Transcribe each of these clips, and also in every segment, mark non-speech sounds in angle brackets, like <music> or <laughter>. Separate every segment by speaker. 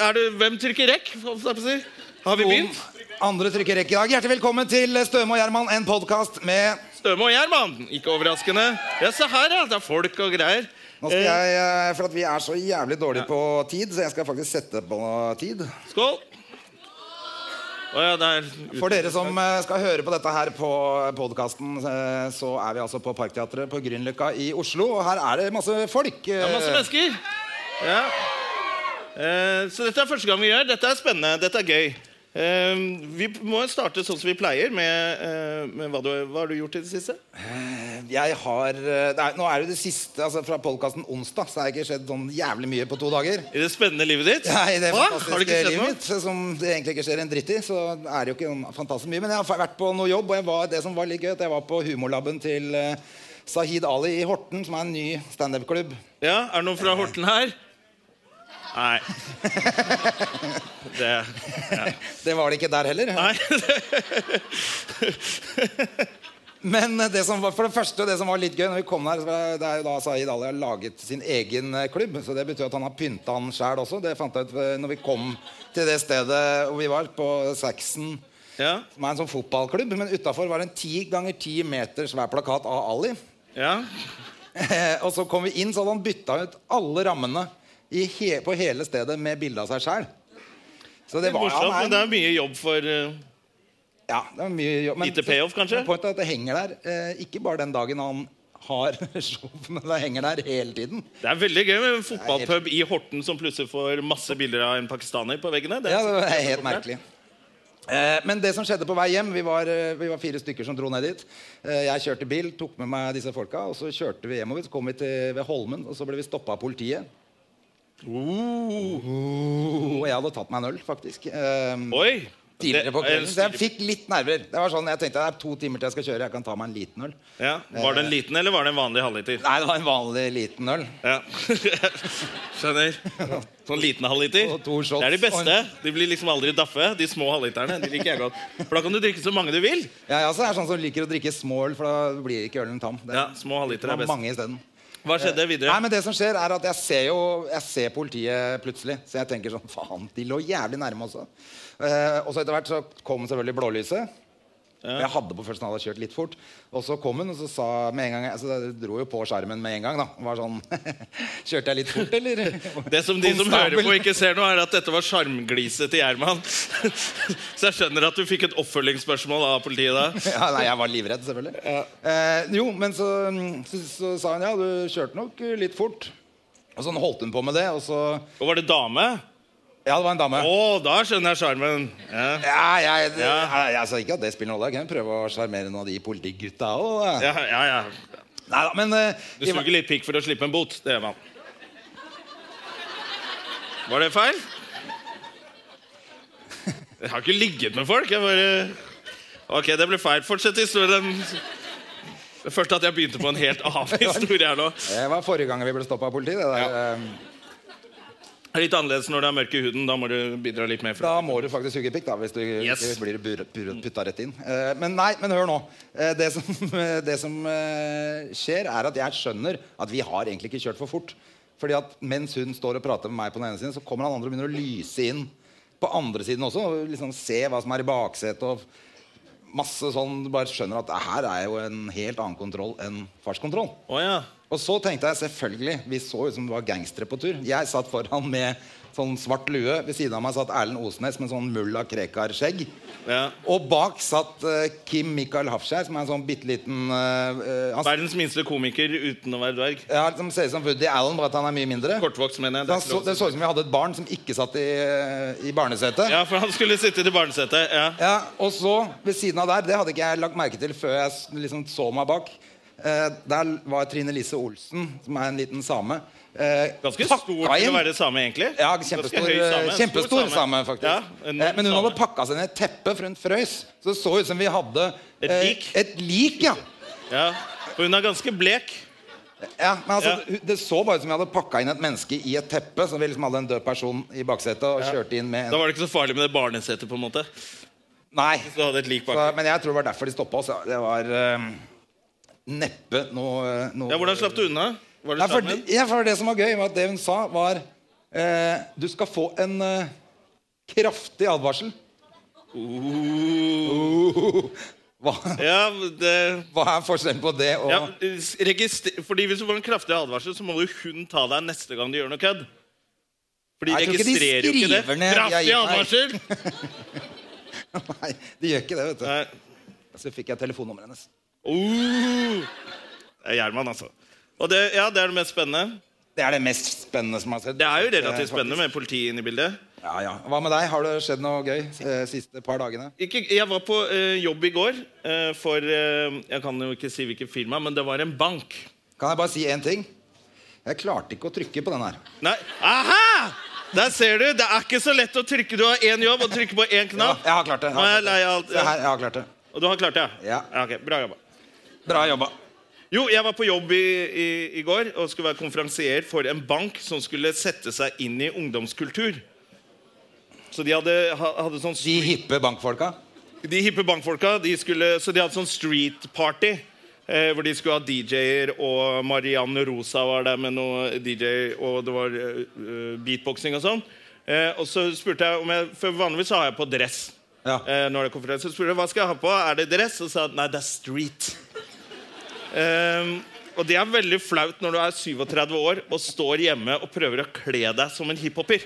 Speaker 1: Er det, hvem trykker rekk? holdt jeg på å si? Har vi begynt?
Speaker 2: Andre trykker rekke i dag. Hjertelig velkommen til Støme og Gjerman, en podkast med
Speaker 1: Støme og Gjerman. Ikke overraskende. Ja, se her, ja. Det er folk og greier.
Speaker 2: Nå skal jeg, eh, For at vi er så jævlig dårlige på tid, så jeg skal faktisk sette på tid.
Speaker 1: Skål. Å ja, det er ut-
Speaker 2: For dere som eh, skal høre på dette her på podkasten, så er vi altså på Parkteatret på Grünerløkka i Oslo. Og her er det masse folk.
Speaker 1: det er masse
Speaker 2: eh,
Speaker 1: mennesker. Ja. Eh, Så dette er første gang vi gjør. Dette er spennende. Dette er gøy. Eh, Vi må starte sånn som vi pleier, med, eh, med hva, du, hva har du gjort i det siste?
Speaker 2: Jeg har eh, nei, Nå er det det siste altså fra podkasten onsdag, så har det ikke skjedd sånn jævlig mye på to dager.
Speaker 1: I det spennende livet ditt?
Speaker 2: Nei, det
Speaker 1: Hva? Har det
Speaker 2: fantastiske
Speaker 1: ikke skjedd
Speaker 2: livet
Speaker 1: noe?
Speaker 2: mitt, som det egentlig ikke skjer en dritt i, så er det jo ikke noe fantastisk mye. Men jeg har vært på noe jobb, og jeg var, det som var litt gøy, at jeg var på humorlaben til eh, Sahid Ali i Horten, som er en ny standup-klubb.
Speaker 1: Ja, Er det noen fra Horten her? Nei. Det
Speaker 2: Det var det ikke der heller.
Speaker 1: Nei.
Speaker 2: Men det som var, for det første, det som var litt gøy når vi kom der, så var det- det er jo da Sahid Ali har laget sin egen eh, klubb. Så det betyr at han har pynta han sjæl også. Det fant jeg ut eh, når vi kom til det stedet hvor vi var, på Saxon.
Speaker 1: Ja.
Speaker 2: Som er en sånn fotballklubb, men utafor var det en ti ganger ti meter svær plakat av Ali.
Speaker 1: ja.
Speaker 2: Eh, og så kom vi inn, så hadde han bytta ut alle rammene i he på hele stedet med bilde av seg sjæl. Så det var
Speaker 1: Morsomt, men
Speaker 2: han
Speaker 1: det
Speaker 2: er,
Speaker 1: er mye jobb for eh,
Speaker 2: ja, det var mye jobb.
Speaker 1: Lite payoff, kanskje?
Speaker 2: men Pointet er at det henger der. Eh, ikke bare den dagen han har <laughs> show, men det henger der hele tiden.
Speaker 1: Det er veldig gøy med en fotballpub i Horten som plutselig får masse bilder av en pakistaner på veggene. Det
Speaker 2: Ja, det er helt merkelig. Eh, men det som skjedde på vei hjem vi var, eh, vi var fire stykker som dro ned dit. Eh, jeg kjørte bil, tok med meg disse folka, og så kjørte vi hjemover. Så kom vi til, ved Holmen, og så ble vi stoppa av politiet. Oh,
Speaker 1: Uh.
Speaker 2: og jeg hadde tatt meg en øl, faktisk. Eh,
Speaker 1: Oi!
Speaker 2: tidligere på
Speaker 1: Det- eh,
Speaker 2: kvelden. Så jeg fikk litt nerver. Det var sånn, Jeg tenkte det er to timer til jeg skal kjøre, jeg kan ta meg en liten øl. Eh,
Speaker 1: ja. Var det en liten, eller var det en vanlig halvliter?
Speaker 2: Nei, det var en vanlig liten øl.
Speaker 1: Ja. <laughs> Skjønner. Sånn liten halvliter.
Speaker 2: Og to shots.
Speaker 1: Det er de beste. De blir liksom aldri daffe, de små halvliterne. De liker jeg godt. For da kan du drikke så mange du vil.
Speaker 2: Jeg også er sånn som liker å drikke små øl, for da blir ikke ølen tam. Det,
Speaker 1: Ja, små halvliter
Speaker 2: det
Speaker 1: er
Speaker 2: var
Speaker 1: best.
Speaker 2: mange isteden.
Speaker 1: Hva skjedde videre?
Speaker 2: Nei, men det som skjer er at jeg ser jo Jeg ser politiet plutselig. Så jeg tenker sånn Faen, de lå jævlig nærme også. Eh, og så etter hvert så kom selvfølgelig blålyset. Jeg hadde på følelsen at jeg hadde kjørt litt fort. Og så kom hun, og så sa med en gang altså, Det dro jo på skjermen med en gang. da Og var sånn <laughs> Kjørte jeg litt fort, eller?
Speaker 1: <laughs> Det som de som
Speaker 2: Konstabel.
Speaker 1: hører på ikke ser nå, er at dette var sjarmgliset til Gjerman. <laughs> Så jeg skjønner at du fikk et oppfølgingsspørsmål av politiet da.
Speaker 2: <laughs> ja, Nei, jeg var livredd, selvfølgelig. Eh, jo, men så, så, så sa hun ja, du kjørte nok litt fort. Og sånn holdt hun på med det, og så
Speaker 1: Og var det dame?
Speaker 2: Ja, det var en dame.
Speaker 1: Å, da skjønner jeg sjarmen. Ja.
Speaker 2: Ja, jeg, det,
Speaker 1: Ja.
Speaker 2: Jeg, jeg sa ikke at det spiller noen rolle. Jeg kan prøve å sjarmere noen av de politigutta òg.
Speaker 1: Ja, ja, ja.
Speaker 2: Neida, men eh,
Speaker 1: Du
Speaker 2: vi var-
Speaker 1: suger litt pikk for å slippe en bot. Det gjør man. Var det feil? Jeg har ikke ligget med folk. Jeg bare Ok, det ble feil. Fortsett historien. Det første at jeg begynte på en helt
Speaker 2: <laughs>
Speaker 1: annen historie her nå.
Speaker 2: Eh, Det var forrige gang vi ble stoppa av politiet. Det der, eh,
Speaker 1: Det er Litt annerledes når du er mørk i huden. Da må du bidra litt mer. fra.
Speaker 2: Da må du faktisk suge pikk, da, hvis du
Speaker 1: Yes.
Speaker 2: ikke blir bur- bur- putta rett inn. Eh, men nei, men hør nå. Eh, det som, <laughs> det som eh, skjer, er at jeg skjønner at vi har egentlig ikke kjørt for fort. Fordi at mens hun står og prater med meg på den ene siden, så kommer han andre og begynner å lyse inn på andre siden også. Og liksom se hva som er i baksetet og masse sånn. Du bare skjønner at det her er jo en helt annen kontroll enn fartskontroll.
Speaker 1: Å ja.
Speaker 2: Og så tenkte jeg selvfølgelig Vi så ut som det var gangstere på tur. Jeg satt foran med sånn svart lue. Ved siden av meg satt Erlend Osnes med sånn mulla Krekar-skjegg.
Speaker 1: ja.
Speaker 2: Og bak satt eh, Kim Michael Hafskjær, som er en sånn bitte liten eh, eh, Han
Speaker 1: Verdens minste komiker uten å være dverg.
Speaker 2: ja, som ser ut som Woody Allen, bare at han er mye mindre.
Speaker 1: Kortvokst, mener jeg.
Speaker 2: Så
Speaker 1: Det
Speaker 2: han så, det
Speaker 1: er ikke lov å si.
Speaker 2: så ut som vi hadde et barn som ikke satt i, eh, i barnesetet.
Speaker 1: Ja, for han skulle sitte i barnesetet. Ja.
Speaker 2: Ja, og så, ved siden av der, det hadde ikke jeg lagt merke til før jeg s- liksom så meg bak. Eh, der var Trine Lise Olsen, som er en liten same, Eh,
Speaker 1: Ganske
Speaker 2: pakka
Speaker 1: stor til å
Speaker 2: inn-
Speaker 1: være same, egentlig.
Speaker 2: Ja,
Speaker 1: Ganske
Speaker 2: kjempestor, eh,
Speaker 1: høy same.
Speaker 2: kjempestor
Speaker 1: Stor
Speaker 2: same. faktisk.
Speaker 1: Ja,
Speaker 2: eh,
Speaker 1: enorm
Speaker 2: men hun hadde
Speaker 1: same.
Speaker 2: pakka seg ned et teppe, for hun frøs. Så det så ut som vi hadde
Speaker 1: Et
Speaker 2: eh,
Speaker 1: lik?
Speaker 2: et lik ja.
Speaker 1: Ja, for hun er ganske blek.
Speaker 2: Ja, men altså,
Speaker 1: Ja.
Speaker 2: Det så bare ut som vi hadde pakka inn et menneske i et teppe. Så vi liksom hadde en død person i baksetet og kjørte inn med
Speaker 1: Da
Speaker 2: en
Speaker 1: var det ikke så farlig med det barnesetet, på en måte.
Speaker 2: Nei.
Speaker 1: Du hadde et lik
Speaker 2: Så,
Speaker 1: bak.
Speaker 2: men jeg tror det var derfor de stoppa oss. ja. Det var eh, neppe noe, noe
Speaker 1: Ja, hvordan slapp du unna? Var
Speaker 2: Nei,
Speaker 1: det
Speaker 2: for,
Speaker 1: sammen?
Speaker 2: ja, for det som var gøy, var at det hun sa, var eh, Du skal få en eh, kraftig advarsel. Oh. Hva,
Speaker 1: Ja, det...
Speaker 2: hva er forskjellen på det og
Speaker 1: Ja, s- register... Fordi Hvis du får en kraftig advarsel, så må jo hun ta deg neste gang du gjør noe kødd. For de
Speaker 2: Jeg tror ikke de
Speaker 1: registrerer jo ikke det.
Speaker 2: skriver ned-
Speaker 1: Kraftig
Speaker 2: Jeg- nei.
Speaker 1: advarsel!
Speaker 2: Nei, de gjør ikke det, vet du.
Speaker 1: Nei.
Speaker 2: Så fikk jeg telefonnummeret hennes.
Speaker 1: Oh. Det er Gjerman, altså. Og det, ja, det er det mest spennende.
Speaker 2: Det er det mest spennende som har skjedd.
Speaker 1: Det er jo
Speaker 2: Eh,
Speaker 1: relativt spennende
Speaker 2: faktisk.
Speaker 1: med politiet inne i bildet.
Speaker 2: Ja, ja. Hva med deg? Har det skjedd noe gøy eh, siste par dagene?
Speaker 1: Ikke, jeg var på eh, jobb i går eh, for eh, Jeg kan jo ikke si hvilket firma, men det var en bank.
Speaker 2: Kan jeg bare si én ting? Jeg klarte ikke å trykke på den her.
Speaker 1: Nei, aha! Der ser du! Det er ikke så lett å trykke. Du har én jobb og trykke på én
Speaker 2: Ja,
Speaker 1: knapp.
Speaker 2: jeg har klart det.
Speaker 1: Nå er jeg lei av alt.
Speaker 2: Se her, jeg har klart det.
Speaker 1: Og du har klart det?
Speaker 2: Ja.
Speaker 1: ok, Bra jobba.
Speaker 2: Bra jobba.
Speaker 1: Jo, jeg var på jobb i, i, i går og skulle være konferansier for en bank som skulle sette seg inn i ungdomskultur. Så de hadde, ha- hadde sånn
Speaker 2: De hippe bankfolka.
Speaker 1: De hippe bankfolka, de skulle, så de hadde sånn street party. Eh, hvor de skulle ha DJ-er, og Marianne Rosa var der med noe DJ, og det var eh, eh, beatboxing og sånn. Eh, og så spurte jeg om jeg For vanligvis så har jeg på dress.
Speaker 2: Ja.
Speaker 1: Eh, når det er konferanse, så spurte jeg hva skal jeg ha på. Er det dress? Og sa jeg, nei, det er street. Ehm, og det er veldig flaut når du er 37 år og står hjemme og prøver å kle deg som en hiphoper.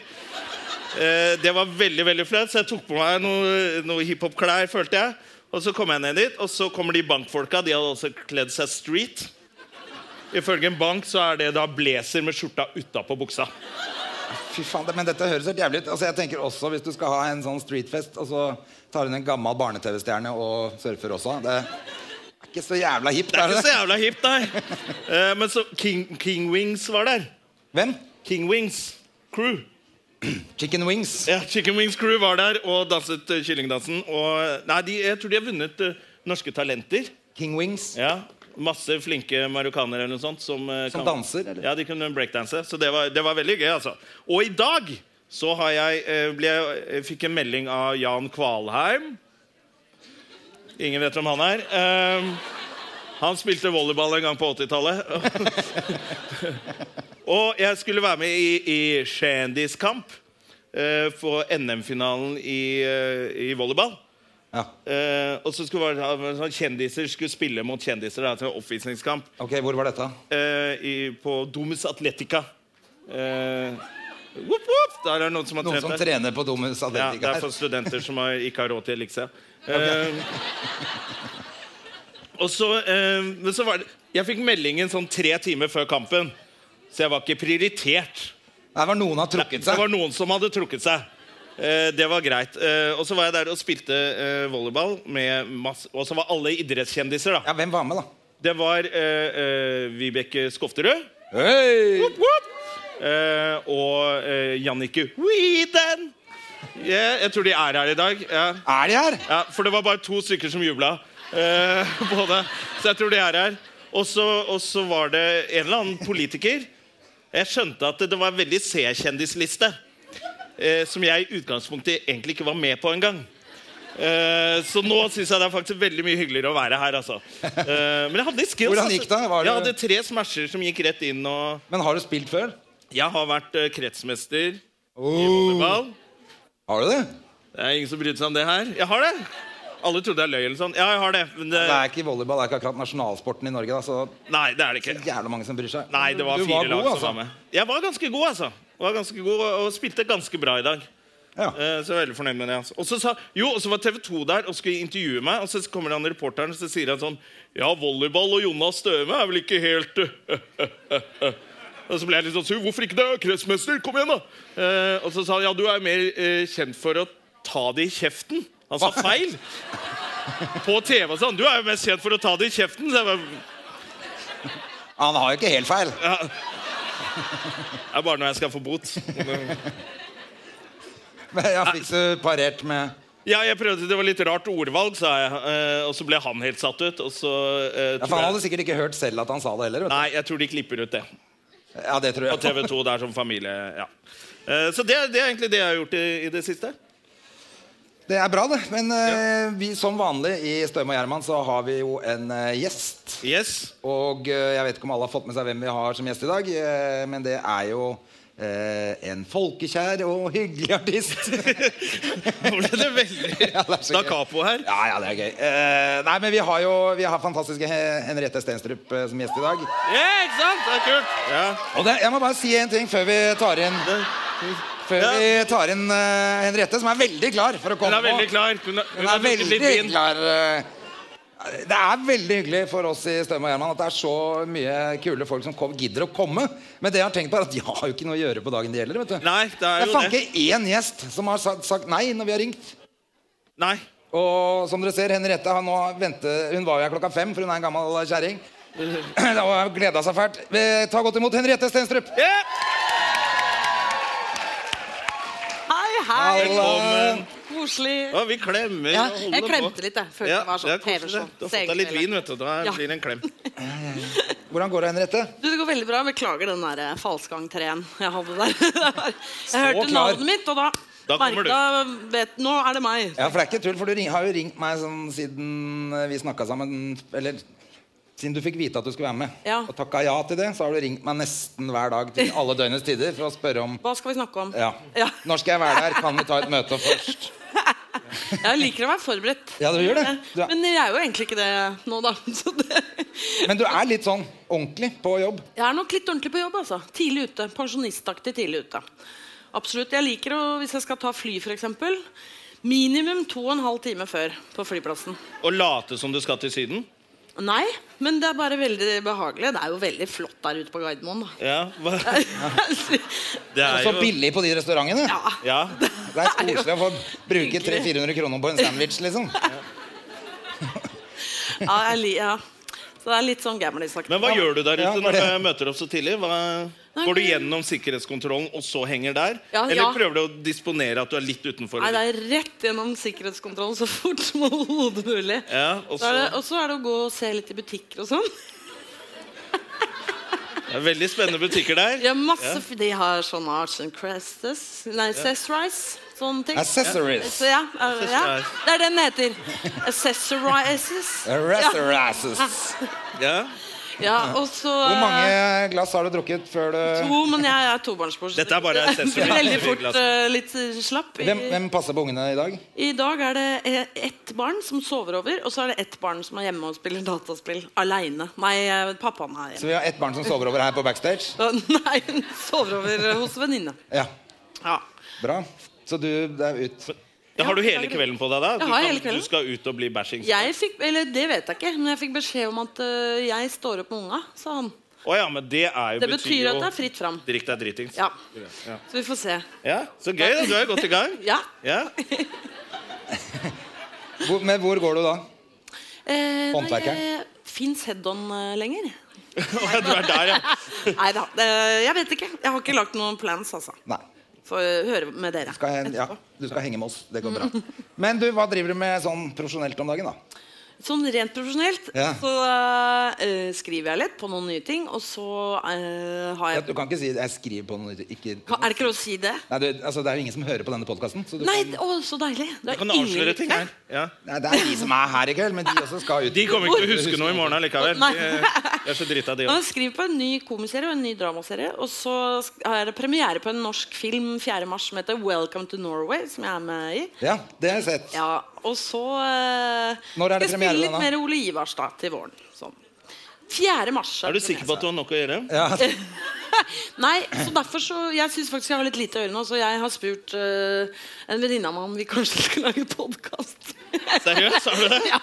Speaker 1: Eh, det var veldig veldig flaut, så jeg tok på meg noe, noe hiphop-klær, følte jeg. Og så kom jeg ned dit, og så kommer de bankfolka. De hadde også kledd seg street. Ifølge en bank så er det da blazer med skjorta utapå buksa.
Speaker 2: Fy faen, det- men dette høres helt jævlig ut. Altså, jeg tenker også Hvis du skal ha en sånn streetfest, og så tar hun en gammel barne-TV-stjerne og surfer også Det er ikke så jævla hipt,
Speaker 1: Det er
Speaker 2: er
Speaker 1: ikke
Speaker 2: det?
Speaker 1: så jævla hipt, nei. Eh, men så King, King Wings var der.
Speaker 2: Hvem?
Speaker 1: King Wings crew.
Speaker 2: Chicken Wings.
Speaker 1: Ja, Chicken Wings crew var der og danset eh, kyllingdansen. Og, nei, de, jeg tror de har vunnet eh, Norske Talenter.
Speaker 2: King Wings.
Speaker 1: Ja, Masse flinke marokkanere eller noe sånt som, eh,
Speaker 2: Som
Speaker 1: kan-
Speaker 2: danser, eller?
Speaker 1: Ja, de kunne breakdanse. Så det var, det var veldig gøy, altså. Og i dag så har jeg, eh, ble, jeg fikk en melding av Jan Kvalheim. Ingen vet hvem han er. Eh, han spilte volleyball en gang på 80-tallet. <laughs> Og jeg skulle være med i, i kjendiskamp eh, på NM-finalen i, eh, i volleyball.
Speaker 2: Ja.
Speaker 1: Eh, og så skulle det være, sånn, Kjendiser skulle spille mot kjendiser. Da, til en oppvisningskamp
Speaker 2: Ok, hvor var dette?
Speaker 1: eh, i, på Domus Atletica. Eh, whoop, whoop, der er det noen som har
Speaker 2: Noen som
Speaker 1: trent der.
Speaker 2: trener på Domus
Speaker 1: Ja, det
Speaker 2: Atletica
Speaker 1: er
Speaker 2: her.
Speaker 1: for studenter som har, ikke har råd til Elixia.
Speaker 2: <laughs>
Speaker 1: Eh, og så, eh, men så var det, Jeg fikk meldingen sånn tre timer før kampen, så jeg var ikke prioritert.
Speaker 2: Her var noen har trukket
Speaker 1: Det
Speaker 2: seg.
Speaker 1: var noen som hadde trukket seg. Eh, det var greit. Eh, og så var jeg der og spilte eh, volleyball med masse Og så var alle idrettskjendiser, da.
Speaker 2: Ja, hvem var med, da?
Speaker 1: Det var eh, eh, Vibeke Skofterud.
Speaker 2: Hei!
Speaker 1: Whoop, whoop. Eh, og eh, Jannicke Weeden. Yeah, jeg tror de er her i dag. Ja.
Speaker 2: Er de her?
Speaker 1: Ja, for det var bare to stykker som jubla eh, <laughs> på det. Så jeg tror de er her. Og så og så var det en eller annen politiker. Jeg skjønte at det var en veldig C-kjendisliste. Eh, som jeg i utgangspunktet egentlig ikke var med på engang. Eh, så nå syns jeg det er faktisk veldig mye hyggeligere å være her. altså eh, Men jeg hadde litt skills.
Speaker 2: Hvordan gikk det? Var
Speaker 1: Altså.
Speaker 2: det-
Speaker 1: Jeg hadde tre smasher som gikk rett inn. Og
Speaker 2: Men har du spilt før?
Speaker 1: jeg har vært eh, kretsmester i
Speaker 2: Oh.
Speaker 1: volleyball.
Speaker 2: Har du det?
Speaker 1: Det er ingen som brydde seg om det her. Jeg har det! Alle trodde jeg løy eller sånn. Ja, jeg har det. Men det,
Speaker 2: Det er ikke volleyball, det er ikke akkurat nasjonalsporten i Norge, da, så
Speaker 1: nei, det er det ikke.
Speaker 2: jævla mange som bryr seg.
Speaker 1: Nei, det var
Speaker 2: Du
Speaker 1: fire lag
Speaker 2: god, altså.
Speaker 1: som var med. Jeg var ganske god, altså. Var ganske god og- og spilte ganske bra i dag.
Speaker 2: Ja.
Speaker 1: Eh, Så jeg er veldig fornøyd med det. Altså. Og så sa, jo, og så var TV 2 der og skulle intervjue meg, og så kommer han reporteren og så sier han sånn Ja, volleyball og Jonas Støme er vel ikke helt eh, <laughs> Og så ble jeg litt sånn sur. Hvorfor ikke det? Kretsmester, kom igjen, da! Eh, og så sa han ja, du er mer eh, kjent for å ta det i kjeften. Han sa feil. På TV og sånn. Du er jo mest kjent for å ta det i kjeften. Så jeg bare,
Speaker 2: Han har jo ikke helt feil.
Speaker 1: Det er bare når jeg skal få bot.
Speaker 2: Men jeg fikk så parert med
Speaker 1: Ja, jeg prøvde, Det var litt rart ordvalg, sa jeg. eh, Og så ble han helt satt ut. Og så eh,
Speaker 2: ja, For
Speaker 1: tror
Speaker 2: han
Speaker 1: jeg-
Speaker 2: hadde sikkert ikke hørt selv at han sa det heller. Vet
Speaker 1: Nei, jeg tror de klipper ut det.
Speaker 2: du. Ja, det tror
Speaker 1: På TV
Speaker 2: jeg.
Speaker 1: 2 der som sånn familie. ja Eh, Så det, det er egentlig det jeg har gjort i, i det siste.
Speaker 2: <laughs> Det er bra, det. Men eh, vi, som vanlig i Støm og Gjerman så har vi jo en eh, gjest.
Speaker 1: Yes.
Speaker 2: Og eh, jeg vet ikke om alle har fått med seg hvem vi har som gjest i dag, eh, men det er jo eh, en folkekjær og hyggelig artist.
Speaker 1: <laughs> Nå ble det veldig
Speaker 2: <laughs> Ja, det er så
Speaker 1: Da
Speaker 2: gøy.
Speaker 1: Capo her.
Speaker 2: Ja, ja, det er gøy. Eh, nei, men vi har jo vi har fantastiske He- Henriette Stenstrup eh, som gjest i dag.
Speaker 1: Ja, ikke sant? Det er kult. Ja.
Speaker 2: Og det, jeg må bare si en ting før vi tar inn Før
Speaker 1: Ja.
Speaker 2: vi tar inn eh, Henriette, som er veldig klar for å
Speaker 1: Hun
Speaker 2: komme
Speaker 1: er veldig
Speaker 2: på.
Speaker 1: klar. Hun, har-
Speaker 2: Hun
Speaker 1: har
Speaker 2: er
Speaker 1: drukket litt
Speaker 2: veldig
Speaker 1: vin.
Speaker 2: klar. eh. Det er veldig hyggelig for oss i Støm og Gjerman at det er så mye kule folk som kom, gidder å komme. Men det jeg har tenkt på er at de har jo ikke noe å gjøre på dagen de gjelder. vet du.
Speaker 1: Nei, det er
Speaker 2: jeg
Speaker 1: jo
Speaker 2: fant
Speaker 1: det.
Speaker 2: ikke én gjest som har sagt, sagt nei når vi har ringt.
Speaker 1: Nei.
Speaker 2: Og som dere ser, Henriette har nå ventet, hun var jo her klokka fem, for hun er en gammel
Speaker 1: <laughs>
Speaker 2: kjerring. Og har gleda seg fælt. Eh, Ta godt imot Henriette Stenstrup.
Speaker 1: Ja.
Speaker 3: Hei, hei!
Speaker 1: Velkommen.
Speaker 3: Koselig.
Speaker 1: eh, Å, vi klemmer.
Speaker 3: Ja,
Speaker 1: og
Speaker 3: jeg
Speaker 1: holder
Speaker 3: klemte
Speaker 1: på.
Speaker 3: litt, jeg. Følte det var sånn
Speaker 1: det er koselig,
Speaker 3: TV-show.
Speaker 1: det. Du har fått deg litt vin, vet du. Da
Speaker 3: Ja.
Speaker 1: blir det en klem.
Speaker 2: Hvordan går det, Henriette?
Speaker 3: Du, det går veldig bra. Beklager den der eh, falskangtreen jeg hadde der. <laughs> Jeg hørte
Speaker 2: klar.
Speaker 3: navnet mitt, og da,
Speaker 1: Da kommer du.
Speaker 3: merket- vet, Nå er det meg.
Speaker 2: Ja, for det er ikke tull, for du ring, har jo ringt meg sånn siden eh, vi snakka sammen Eller siden du fikk vite at du skulle være med.
Speaker 3: Ja.
Speaker 2: Og takka ja til det, så har du ringt meg nesten hver dag til alle døgnets tider for å spørre om
Speaker 3: Hva skal vi snakke om?
Speaker 2: ja.
Speaker 3: Ja.
Speaker 2: Når skal jeg være der? Kan vi ta et møte først?
Speaker 3: <laughs> Jeg liker å være forberedt.
Speaker 2: Ja, du gjør det. Du er-
Speaker 3: Men jeg er jo egentlig ikke det nå, da. <laughs> Så det...
Speaker 2: Men du er litt sånn ordentlig på jobb.
Speaker 3: Jeg er nok litt ordentlig på jobb, altså. Tidlig ute. Pensjonistaktig tidlig ute. Absolutt. Jeg liker å, hvis jeg skal ta fly, f.eks., minimum to og en halv time før på flyplassen.
Speaker 1: Og late som du skal til Syden?
Speaker 3: Nei, men det er bare veldig behagelig. Det er jo veldig flott der ute på
Speaker 1: <laughs>
Speaker 3: Gardermoen. da.
Speaker 1: Ja. Hva?
Speaker 2: <laughs>
Speaker 1: Det
Speaker 2: Og
Speaker 1: er
Speaker 2: så
Speaker 1: jo
Speaker 2: billig på de restaurantene.
Speaker 3: Ja.
Speaker 1: Ja.
Speaker 2: Det er koselig å få bruke 300-400 kroner på en sandwich, liksom.
Speaker 3: Ja, jeg li ja. Så det er litt sånn gamlisaktig.
Speaker 1: Men hva gjør du der
Speaker 2: Ja,
Speaker 1: ute
Speaker 2: for
Speaker 1: når
Speaker 2: det-
Speaker 1: du møter opp så tidlig? Hva...
Speaker 3: Nei,
Speaker 1: Går du
Speaker 3: men-
Speaker 1: gjennom sikkerhetskontrollen og så henger der?
Speaker 3: Ja,
Speaker 1: Eller
Speaker 3: ja.
Speaker 1: prøver du å disponere at du er litt utenfor?
Speaker 3: Nei, det er rett gjennom sikkerhetskontrollen så fort som overhodet mulig.
Speaker 1: Ja, og
Speaker 3: Så er det-
Speaker 1: så-
Speaker 3: Og så er det å gå og se litt i butikker og sånn.
Speaker 1: Det er veldig spennende butikker der.
Speaker 3: Ja, masse, f- De har sånne Arts and Crafts Nei, Accessorize. Sånne ting.
Speaker 2: Accessories.
Speaker 3: Så ja, eh, ja, Det er det den heter.
Speaker 2: <laughs>
Speaker 3: Accessorizes.
Speaker 2: Razzarasses.
Speaker 1: Ja.
Speaker 3: Ja, og så eh,
Speaker 2: Hvor mange glass har du drukket før du
Speaker 3: To, men jeg er tobarnsmor. så
Speaker 1: Dette er bare
Speaker 3: det
Speaker 1: accessory.
Speaker 3: Veldig fort
Speaker 1: altså.
Speaker 3: eh, litt eh, slapp. I,
Speaker 2: hvem, hvem passer på ungene i dag?
Speaker 3: I dag er det eh, ett barn som sover over, og så er det ett barn som er hjemme og spiller dataspill aleine. Nei, eh, pappaen er
Speaker 2: Så
Speaker 3: hjemme.
Speaker 2: vi har ett barn som sover over her på backstage.
Speaker 3: <laughs> Nei, hun sover over hos venninne.
Speaker 2: Ja,
Speaker 3: Ja.
Speaker 2: Bra. Så du det er ut.
Speaker 1: Da har du hele kvelden på deg, da? Du,
Speaker 3: Jeg har hele kvelden.
Speaker 1: du skal ut og bli bæsjing? Å
Speaker 3: Jeg fikk, eller Det vet jeg ikke, men jeg fikk beskjed om at eh, jeg står opp med unga, sa han.
Speaker 1: ja, men det er jo
Speaker 3: Det betyr at
Speaker 1: jo
Speaker 3: det er fritt fram.
Speaker 1: Drikk deg dritings.
Speaker 3: Ja. Så vi får se.
Speaker 1: Ja, Så gøy, da. Du er jo godt i gang.
Speaker 3: <laughs> Ja.
Speaker 1: Ja.
Speaker 2: Hvor, men hvor går du da?
Speaker 3: Eh,
Speaker 2: Håndverkeren?
Speaker 3: Fins head-on eh, lenger?
Speaker 1: Å, Du er der, ja.
Speaker 3: Nei da. Jeg vet ikke. Jeg har ikke lagt noen plans, altså.
Speaker 2: Nei.
Speaker 3: Får eh, høre med dere.
Speaker 2: Skal jeg, ja,
Speaker 3: etterpå.
Speaker 2: du skal henge med oss. Det går bra. Men du, hva driver du med sånn profesjonelt om dagen, da?
Speaker 3: Sånn rent profesjonelt
Speaker 2: Ja.
Speaker 3: så eh, skriver jeg litt på noen nye ting, og så eh, har
Speaker 2: Ja,
Speaker 3: jeg
Speaker 2: Du kan ikke si 'jeg skriver på noe nytt'. Ikke,
Speaker 3: Ka- Er det ikke lov å si det?
Speaker 2: nei, du, altså, det er jo ingen som hører på denne podkasten.
Speaker 3: Nei, å, så deilig. Det
Speaker 1: Du
Speaker 3: er
Speaker 1: kan
Speaker 3: ingen
Speaker 1: avsløre
Speaker 3: lytter.
Speaker 1: ting her. Ja.
Speaker 2: Nei, det er de som er her i kveld, men de også skal ut.
Speaker 1: De kommer ikke til å huske noe i morgen allikevel.
Speaker 3: Nei.
Speaker 1: De de er så drita, de
Speaker 3: Nå har
Speaker 1: òg.
Speaker 3: jeg skriver på en ny komiserie og en ny dramaserie. Og så sk- har jeg premiere på en norsk film 4. mars som heter 'Welcome to Norway'. Som jeg er med i.
Speaker 2: Ja, det har jeg sett.
Speaker 3: Ja, Og så eh,
Speaker 2: Når er det
Speaker 3: skal jeg
Speaker 2: premiere,
Speaker 3: spille litt
Speaker 2: da?
Speaker 3: mer Ole Ivars da, til våren. Sånn. 4. mars.
Speaker 1: Er du sikker på at du har nok å gjøre?
Speaker 2: Ja,
Speaker 3: <laughs> Nei, så derfor så Jeg syns faktisk jeg har litt lite å gjøre nå, så jeg har spurt eh, en venninne av meg om vi kanskje skulle lage podkast.
Speaker 1: <laughs> Seriøst, har du det?
Speaker 3: ja.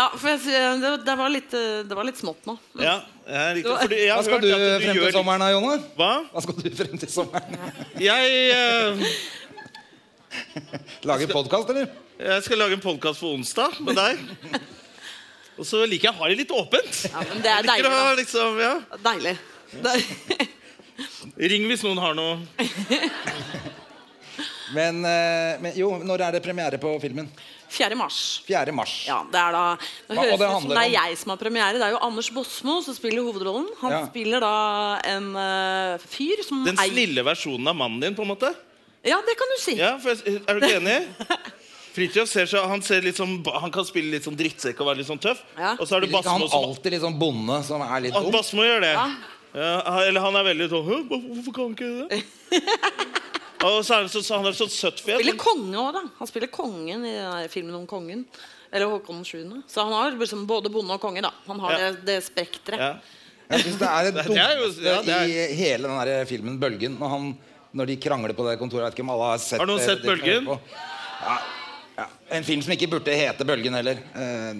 Speaker 3: ja, for jeg, sy- det, det, var litt, eh, det var litt smått nå.
Speaker 1: Ja, ja riktig. Fordi jeg
Speaker 2: Hva
Speaker 1: har
Speaker 2: skal
Speaker 1: hørt
Speaker 2: du
Speaker 1: at du
Speaker 2: frem til
Speaker 1: gjør
Speaker 2: sommeren da, Jonne?
Speaker 1: Hva?
Speaker 2: Hva skal du frem til sommeren?
Speaker 1: Jeg, eh,
Speaker 2: Lage podkast, eller?
Speaker 1: jeg skal lage en podkast på onsdag med deg. Og så liker jeg å ha det litt åpent.
Speaker 3: Ja, men det er
Speaker 1: Liker
Speaker 3: deilig.
Speaker 1: å ha liksom, ja.
Speaker 3: Da. Deilig. Det er- <laughs>
Speaker 1: Ring hvis noen har noe.
Speaker 2: Men, eh, men jo, når er det premiere på filmen?
Speaker 3: 4. mars.
Speaker 2: 4. mars.
Speaker 3: Ja, det er da Det
Speaker 2: Hva- og
Speaker 3: høres
Speaker 2: det
Speaker 3: ut som
Speaker 2: handler
Speaker 3: det er
Speaker 2: om-
Speaker 3: jeg som har premiere. Det er jo Anders Båsmo som spiller hovedrollen. Han
Speaker 2: Ja.
Speaker 3: spiller da en eh, fyr som
Speaker 1: Den
Speaker 3: eier-
Speaker 1: snille versjonen av mannen din, på en måte.
Speaker 3: Ja, det kan du si.
Speaker 1: Ja, for jeg, eh, Er du ikke enig? Fridtjof ser så, han, ser litt sånn, han kan spille litt sånn drittsekk og være litt sånn tøff.
Speaker 3: Ja.
Speaker 1: Og så er det
Speaker 2: Vil ikke han
Speaker 1: Basmo som
Speaker 2: alltid litt sånn bonde som er litt
Speaker 1: At
Speaker 2: dum?
Speaker 1: Basmo gjør det.
Speaker 3: Ja.
Speaker 1: Ja, eller han er veldig sånn «Hæ, hvor- Hvorfor kan han ikke det?
Speaker 3: <laughs>
Speaker 1: og så er han så, så han er sånn søtt
Speaker 3: Han spiller
Speaker 1: fjes.
Speaker 3: konge òg, da. Han spiller kongen i den her filmen om kongen. Eller Håkon 7. Så han har liksom både bonde og konge, da. Han har
Speaker 1: Ja.
Speaker 3: det, det
Speaker 1: <laughs>
Speaker 3: spekteret.
Speaker 1: Ja.
Speaker 2: Jeg syns det er det
Speaker 1: <laughs> Det er jo-
Speaker 2: dummeste
Speaker 1: ja, det er-
Speaker 2: i hele den der filmen Bølgen. Når, han, når de krangler på det kontoret. Jeg vet ikke om alle har sett
Speaker 1: Har noen
Speaker 2: det-
Speaker 1: sett
Speaker 2: det- det-
Speaker 1: Bølgen?
Speaker 2: på. Ja, ja. En film som ikke burde hete Bølgen heller. Eh,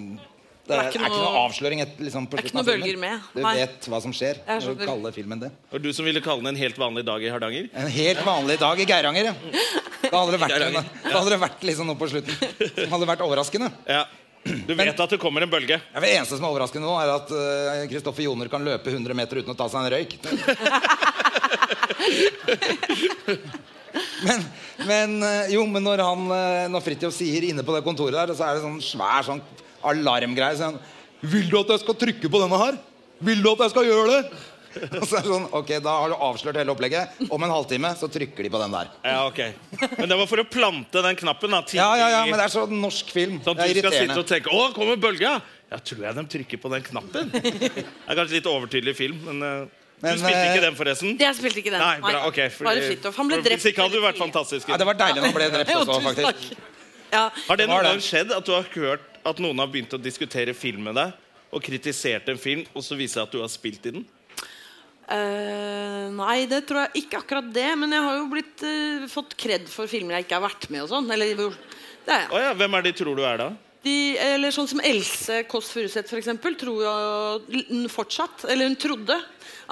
Speaker 2: Det er,
Speaker 3: Det er ikke
Speaker 2: er ikke
Speaker 3: noe-
Speaker 2: noe avsløring et, liksom, på
Speaker 3: Det er ikke
Speaker 2: slutten av
Speaker 3: noe
Speaker 2: filmen.
Speaker 3: bølger med.
Speaker 2: Du
Speaker 3: Nei.
Speaker 2: vet hva som skjønner.
Speaker 3: Jeg
Speaker 2: når du
Speaker 3: skjønner.
Speaker 2: kaller filmen det.
Speaker 1: Og du som ville kalle den en helt vanlig dag i Hardanger?
Speaker 2: En helt vanlig dag i Geiranger. ja. Da hadde det vært,
Speaker 1: Geiranger,
Speaker 2: da hadde det vært liksom noe på slutten som hadde vært overraskende.
Speaker 1: Ja. Du vet at det kommer en bølge.
Speaker 2: Ja, Det eneste som er overraskende nå, er at eh, Kristoffer Joner kan løpe 100 meter uten å ta seg en røyk. men men eh, jo, men når han eh, Når Fridtjof sier inne på det kontoret der, så er det sånn svær sånn alarmgreie. Sånn, 'Vil du at jeg skal trykke på denne her? Vil du at jeg skal gjøre det?' <laughs> Og så er det sånn, ok, Da har du avslørt hele opplegget. Om en halvtime så trykker de på den der.
Speaker 1: Ja, ok Men det var for å plante den knappen. da
Speaker 2: Ja, ja, ja, men det er så norsk film.
Speaker 1: Sånn
Speaker 2: det
Speaker 1: at
Speaker 2: er
Speaker 1: du skal sitte
Speaker 2: irriterende.
Speaker 1: og tenke 'Å, kommer bølga?' Ja, tror jeg de trykker på den
Speaker 2: <laughs>
Speaker 1: knappen. Det er kanskje litt overtydelig film, men eh,
Speaker 2: Men,
Speaker 1: Du spilte
Speaker 2: eh,
Speaker 1: ikke den, forresten?
Speaker 3: Jeg spilte ikke den.
Speaker 1: Nei, bra, ok fordi-
Speaker 3: Bare Fridtjof. Han ble
Speaker 1: for-
Speaker 3: drept.
Speaker 1: Hvis ikke hadde du vært
Speaker 3: veldig tidlig.
Speaker 1: fantastisk.
Speaker 2: Ja, det var deilig når han ble
Speaker 1: <laughs>
Speaker 3: <laughs>
Speaker 2: drept
Speaker 3: Jo,
Speaker 2: også,
Speaker 3: tusen
Speaker 2: faktisk.
Speaker 3: takk. Ja.
Speaker 1: Har det
Speaker 2: Var
Speaker 1: noen
Speaker 2: det?
Speaker 1: gang skjedd at du har hørt at noen har begynt å diskutere film med deg, og kritisert en film, og så viser det seg at du har spilt i den?
Speaker 3: Eh, nei, det tror jeg ikke akkurat det. Men jeg har jo blitt eh, fått kred for filmer jeg ikke har vært med og sånn. Eller hvor det er jeg.
Speaker 1: Å ja, hvem er det de tror du er da?
Speaker 3: De, eller sånn som Else Kåss Furuseth, f.eks., tror jo hun fortsatt Eller hun trodde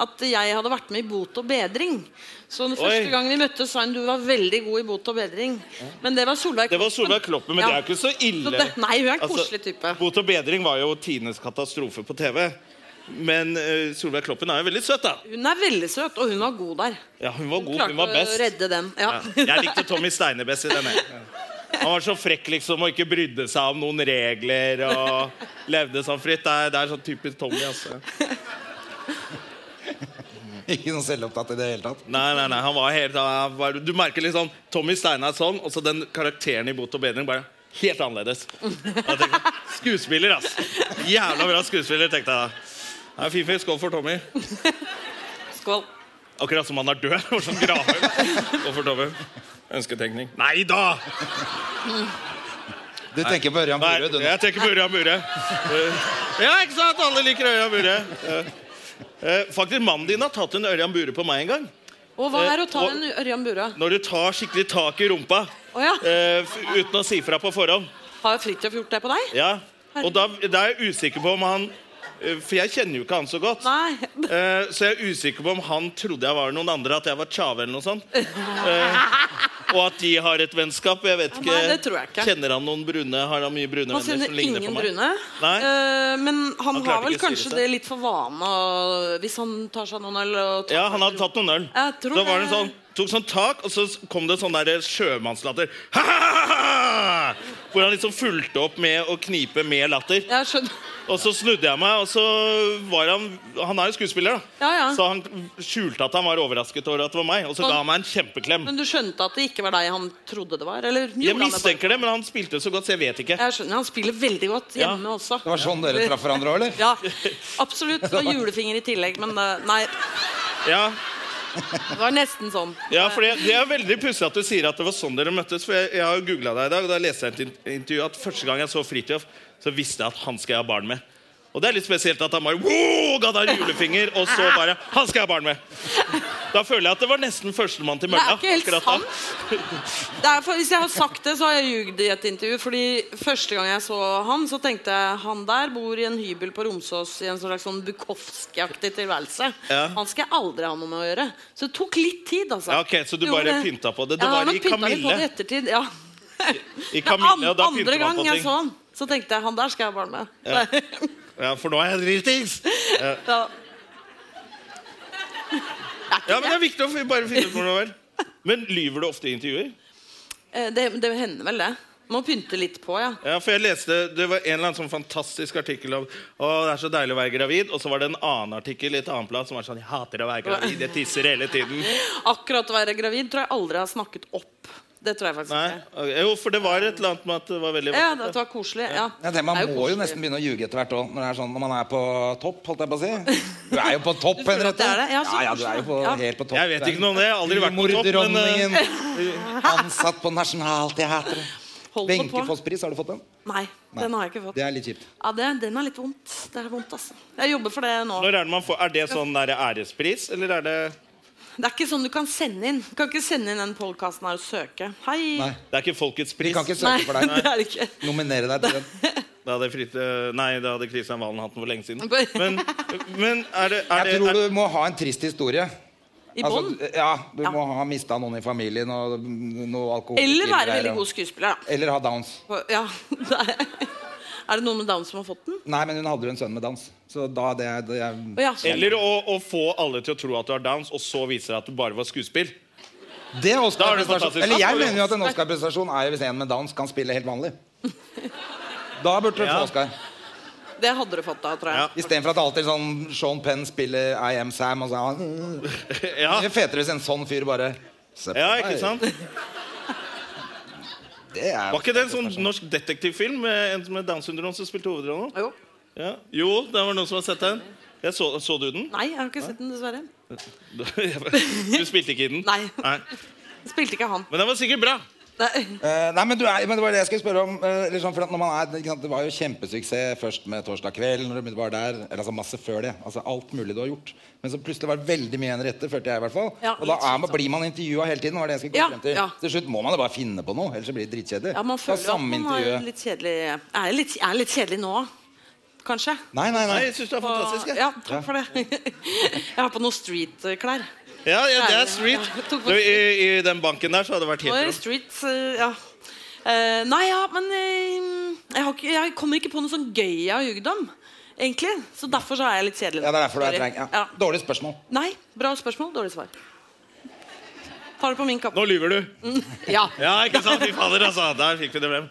Speaker 3: at jeg hadde vært med i Bot og bedring. Så den første
Speaker 1: Oi.
Speaker 3: gang vi møttes, sa hun du var veldig god i Bot og bedring. Men det var Solveig
Speaker 1: Det var Solveig Kloppen, men det er jo
Speaker 3: Ja.
Speaker 1: ikke så ille. Altså,
Speaker 3: Så det- nei, hun er en koselig type.
Speaker 1: Bot og bedring var jo Tines katastrofe på TV. Men eh, Solveig Kloppen er jo veldig søt, da.
Speaker 3: Hun er veldig søt, og hun var god der.
Speaker 1: Ja, Hun var god,
Speaker 3: Klarte
Speaker 1: hun var best.
Speaker 3: å redde den. Ja.
Speaker 1: Ja. Jeg likte Tommy Steine best i denne. Han var så frekk liksom og ikke brydde seg om noen regler og levde sånn fritt. Det er, det er sånn typisk Tommy. altså.
Speaker 2: Ikke noe selvopptatt i det hele tatt.
Speaker 1: Nei, nei, nei, han var helt han var, Du merker litt sånn Tommy Steinar sånn, og så den karakteren i Bot og bedring bare helt annerledes. Jeg tenkte, skuespiller, ass! Jævla bra skuespiller, tenkte jeg da. Det er fin fyr. Skål for Tommy.
Speaker 3: <laughs> Skål.
Speaker 1: Akkurat som han er død. <laughs> og sånn graver. Skål for Tommy. Ønsketenkning. Nei da!
Speaker 2: Du tenker på Ørjan
Speaker 1: Nei,
Speaker 2: Burud. du nå.
Speaker 1: jeg tenker på Ørjan Bure. Eh, Ja, ikke sant? Alle liker Ørjan Bure. Eh, eh, Faktisk, mannen din har tatt en Ørjan Bure på meg en gang.
Speaker 3: Og hva
Speaker 1: Eh,
Speaker 3: er å ta
Speaker 1: og-
Speaker 3: en Ørjan Burøe?
Speaker 1: Når du tar skikkelig tak i rumpa
Speaker 3: Å ja.
Speaker 1: eh, f- uten å si fra på forhånd.
Speaker 3: Har Fridtjof gjort det på deg?
Speaker 1: Ja, og da, da er jeg usikker på om han eh, For jeg kjenner jo ikke han så godt.
Speaker 3: Nei.
Speaker 1: Eh, så jeg er usikker på om han trodde jeg var noen andre, at jeg var Tjave eller noe sånt. Eh, og at de har et vennskap. Jeg vet ikke.
Speaker 3: Nei, det tror jeg ikke.
Speaker 1: Kjenner han noen brune? Har han mye brune venner
Speaker 3: Han
Speaker 1: som
Speaker 3: kjenner
Speaker 1: ligner
Speaker 3: ingen
Speaker 1: på meg?
Speaker 3: brune.
Speaker 1: Nei.
Speaker 3: Eh, men han,
Speaker 1: Han klarte
Speaker 3: har
Speaker 1: ikke å
Speaker 3: vel
Speaker 1: styre
Speaker 3: kanskje
Speaker 1: seg.
Speaker 3: det litt for vane å- hvis han tar seg noen øl og tar
Speaker 1: Ja, han hadde tatt noen øl.
Speaker 3: Jeg tror
Speaker 1: Da var det
Speaker 3: det.
Speaker 1: sånn, tok sånn tak, og så kom det sånn der sjømannslatter. Ha-ha-ha-ha! Hvor han liksom fulgte opp med å knipe med latter.
Speaker 3: Jeg skjønner.
Speaker 1: Og så snudde jeg meg, og så var han Han er jo skuespiller, da.
Speaker 3: Ja, ja.
Speaker 1: Så han skjulte at han var overrasket over at det var meg, og så
Speaker 3: Og-
Speaker 1: ga han meg en kjempeklem.
Speaker 3: Men du skjønte at det ikke var deg han trodde det var? Eller gjorde
Speaker 1: Jeg
Speaker 3: han det
Speaker 1: mistenker det, men han spilte så godt, så jeg vet ikke.
Speaker 3: bare? Jeg skjønner, Han spiller veldig godt
Speaker 1: Ja.
Speaker 3: hjemme også.
Speaker 2: Det var sånn dere traff hverandre òg, eller?
Speaker 3: Ja, absolutt. Det var julefinger i tillegg, men eh, nei.
Speaker 1: Ja,
Speaker 3: Det var nesten sånn.
Speaker 1: ja for det, det er veldig pussig at du sier at det var sånn dere møttes, for jeg, jeg har jo googla deg i dag, og da leste jeg et in- intervju at første gang jeg så Fridtjof, så visste jeg at han skal jeg ha barn med. Og det er litt spesielt at han bare wow, ga deg en julefinger, og så bare Han skal jeg ha barn med! Da føler jeg at det var nesten førstemann til
Speaker 3: Det er
Speaker 1: mølla.
Speaker 3: ikke helt
Speaker 1: akkurat da.
Speaker 3: sant. Det er for, hvis jeg har sagt det, så har jeg ljugd i et intervju. Fordi Første gang jeg så han, så tenkte jeg han der bor i en hybel på Romsås i en slags sånn Bukowski-aktig tilværelse.
Speaker 1: Ja.
Speaker 3: Han skal jeg aldri ha noe med å gjøre. Så det tok litt tid, altså.
Speaker 1: Ja, ok, så du
Speaker 3: Jo,
Speaker 1: bare
Speaker 3: det-
Speaker 1: pynta på det. Det
Speaker 3: Ja,
Speaker 1: var
Speaker 3: han
Speaker 1: i
Speaker 3: pynta litt
Speaker 1: Kamille.
Speaker 3: på det i ettertid, ja.
Speaker 1: I Kamille,
Speaker 3: Men
Speaker 1: og da pynter
Speaker 3: andre
Speaker 1: man på
Speaker 3: gang jeg
Speaker 1: ting.
Speaker 3: så han, så tenkte jeg han der skal jeg ha barn med. <laughs>
Speaker 1: Ja, for nå er jeg dritings!
Speaker 3: Ja. Det er
Speaker 1: Ja, men Det er viktig å fi- bare finne ut hvor det var. Men lyver du ofte i intervjuer?
Speaker 3: Eh, Det, det hender vel det. Må pynte litt på, ja.
Speaker 1: Ja, for jeg leste, Det var en eller annen sånn fantastisk artikkel om å, det er så deilig å være gravid. Og så var det en annen artikkel i et annet blad som var sånn Jeg hater å være gravid. Jeg tisser hele tiden.
Speaker 3: Akkurat å være gravid tror jeg aldri har snakket opp. Det tror jeg faktisk
Speaker 1: Nei,
Speaker 3: ikke.
Speaker 1: ok. Jo, for det var et eller annet med at det var veldig
Speaker 3: Ja, det var koselig. Ja.
Speaker 2: Jeg tenker, man
Speaker 3: Det
Speaker 2: må
Speaker 3: er
Speaker 2: jo
Speaker 3: koselig.
Speaker 2: nesten begynne å ljuge etter hvert òg, når, det er sånn, når man er på topp. holdt jeg på å si. Du er jo på topp,
Speaker 3: Du føler at
Speaker 2: Henriette.
Speaker 3: det er det? Ja, så
Speaker 2: Ja, ja, du er jo på,
Speaker 3: koselig, ja.
Speaker 2: helt på topp.
Speaker 1: Jeg vet ikke noe om det. Jeg har aldri vært på topp, men, eh,
Speaker 3: <laughs>
Speaker 2: Humordronningen. Ansatt på Nationaltheatret.
Speaker 3: Hold det på.
Speaker 2: Benkefoss-pris, har du fått den?
Speaker 3: Nei, den har jeg ikke fått.
Speaker 2: Det er litt kjipt.
Speaker 3: Ja, det, Den er litt vondt. Det er vondt, altså. Jeg jobber for det nå.
Speaker 1: Når er det man får Er det sånn der ærespris, eller er det
Speaker 3: Det er ikke sånn du kan sende inn. Du kan ikke sende inn den podkasten her og søke. Hei!
Speaker 2: Nei.
Speaker 1: Det er ikke Folkets
Speaker 2: Vi
Speaker 1: pris?
Speaker 2: kan ikke
Speaker 3: Nei,
Speaker 2: søke for
Speaker 3: <laughs> det
Speaker 2: deg.
Speaker 3: er det ikke.
Speaker 2: Nominere deg til den.
Speaker 1: Da hadde, Frite, nei, da hadde Kristian Valen hatt den for lenge siden.
Speaker 3: Bare-
Speaker 1: Men, men er det, er det
Speaker 2: Jeg tror
Speaker 1: er,
Speaker 2: du må ha en trist historie.
Speaker 3: I bånn.
Speaker 2: Altså, ja, Du
Speaker 3: Ja.
Speaker 2: må ha mista noen i familien og noe alkohol.
Speaker 3: Eller være veldig god skuespiller, da.
Speaker 2: Eller ha downs.
Speaker 3: For- Ja, <laughs> det er, er det noen med Downs som har fått den?
Speaker 2: Nei, men hun hadde jo en sønn med dans. Så da det, det
Speaker 3: Å, ja, sånn.
Speaker 1: eller å, å få alle til å tro at du har downs, og så viser det at du bare var skuespill.
Speaker 2: Det er
Speaker 1: Da er det
Speaker 2: Oscar-prestasjon.
Speaker 1: fantastisk.
Speaker 2: Eller
Speaker 1: Ja,
Speaker 2: jeg
Speaker 1: for-
Speaker 2: mener jo at en Oscar-prestasjon er jo hvis en med dans kan spille helt
Speaker 1: <laughs>
Speaker 2: vanlig. Da burde du
Speaker 1: Ja.
Speaker 2: få Oscar.
Speaker 3: Det hadde du fått da, tror jeg.
Speaker 1: Ja.
Speaker 2: Istedenfor at det alltid er sånn Sean Penn spiller I Am Sam og sånn.
Speaker 1: Ja,
Speaker 2: Det er fetere hvis en sånn fyr bare Se på
Speaker 1: ja
Speaker 2: meg.
Speaker 1: ikke sant?
Speaker 2: Det er
Speaker 1: Var ikke det en sånn norsk detektivfilm med en med Downs syndrom som spilte hovedrollen?
Speaker 3: Jo.
Speaker 1: Ja. Jo, det var noen som har sett den. Jeg så, så du den? <laughs>
Speaker 3: Nei, jeg har ikke sett den, dessverre.
Speaker 1: Du spilte ikke i den?
Speaker 3: Nei. Spilte ikke han.
Speaker 1: Men den var sikkert bra.
Speaker 3: Nei.
Speaker 2: Eh, nei, men, du er, men det var det jeg skulle spørre om. eh, eller sånn, for at når man er, ikke sant, det var jo kjempesuksess først med 'Torsdag kveld'. Når du var der, eller altså masse før det. Altså Alt mulig du har gjort. Men så plutselig var det veldig mye igjen rette, følte jeg i hvert fall.
Speaker 3: Ja,
Speaker 2: og da
Speaker 3: litt
Speaker 2: er man, blir man intervjua hele tiden. var det jeg skulle komme
Speaker 3: Ja,
Speaker 2: frem til.
Speaker 3: ja.
Speaker 2: Til slutt må man jo bare finne på noe, ellers så blir det dritkjedelig.
Speaker 3: Ja, man
Speaker 2: Ta
Speaker 3: føler at
Speaker 2: samme
Speaker 3: man er
Speaker 2: intervjuet.
Speaker 3: litt kjedelig Er jeg litt, er jeg litt kjedelig nå, kanskje?
Speaker 2: Nei, nei,
Speaker 1: Nei,
Speaker 2: nei.
Speaker 1: jeg synes det er fantastisk. jeg.
Speaker 3: Ja, takk for det. <laughs> Jeg har på noen street-klær.
Speaker 1: Ja, ja, det
Speaker 3: Nei,
Speaker 1: er street.
Speaker 3: ja, tok på
Speaker 1: Du, i, I den banken der så hadde det vært
Speaker 3: Nå er
Speaker 1: hetero.
Speaker 3: det street, eh, ja. Eh, nei, ja, men eh, jeg, har ikke, jeg kommer ikke på noe sånn gøy jeg har ljugd om. Egentlig. Så derfor så er jeg litt kjedelig. nå.
Speaker 2: Ja, det er derfor du er
Speaker 3: Sorry.
Speaker 2: treng. Ja. Dårlig spørsmål.
Speaker 3: Nei, bra spørsmål, dårlig svar. Tar det på min kappe.
Speaker 1: Nå lyver du.
Speaker 3: <laughs> Ja.
Speaker 1: Ja, ikke sant? Fy fader, altså. Der fikk vi det frem.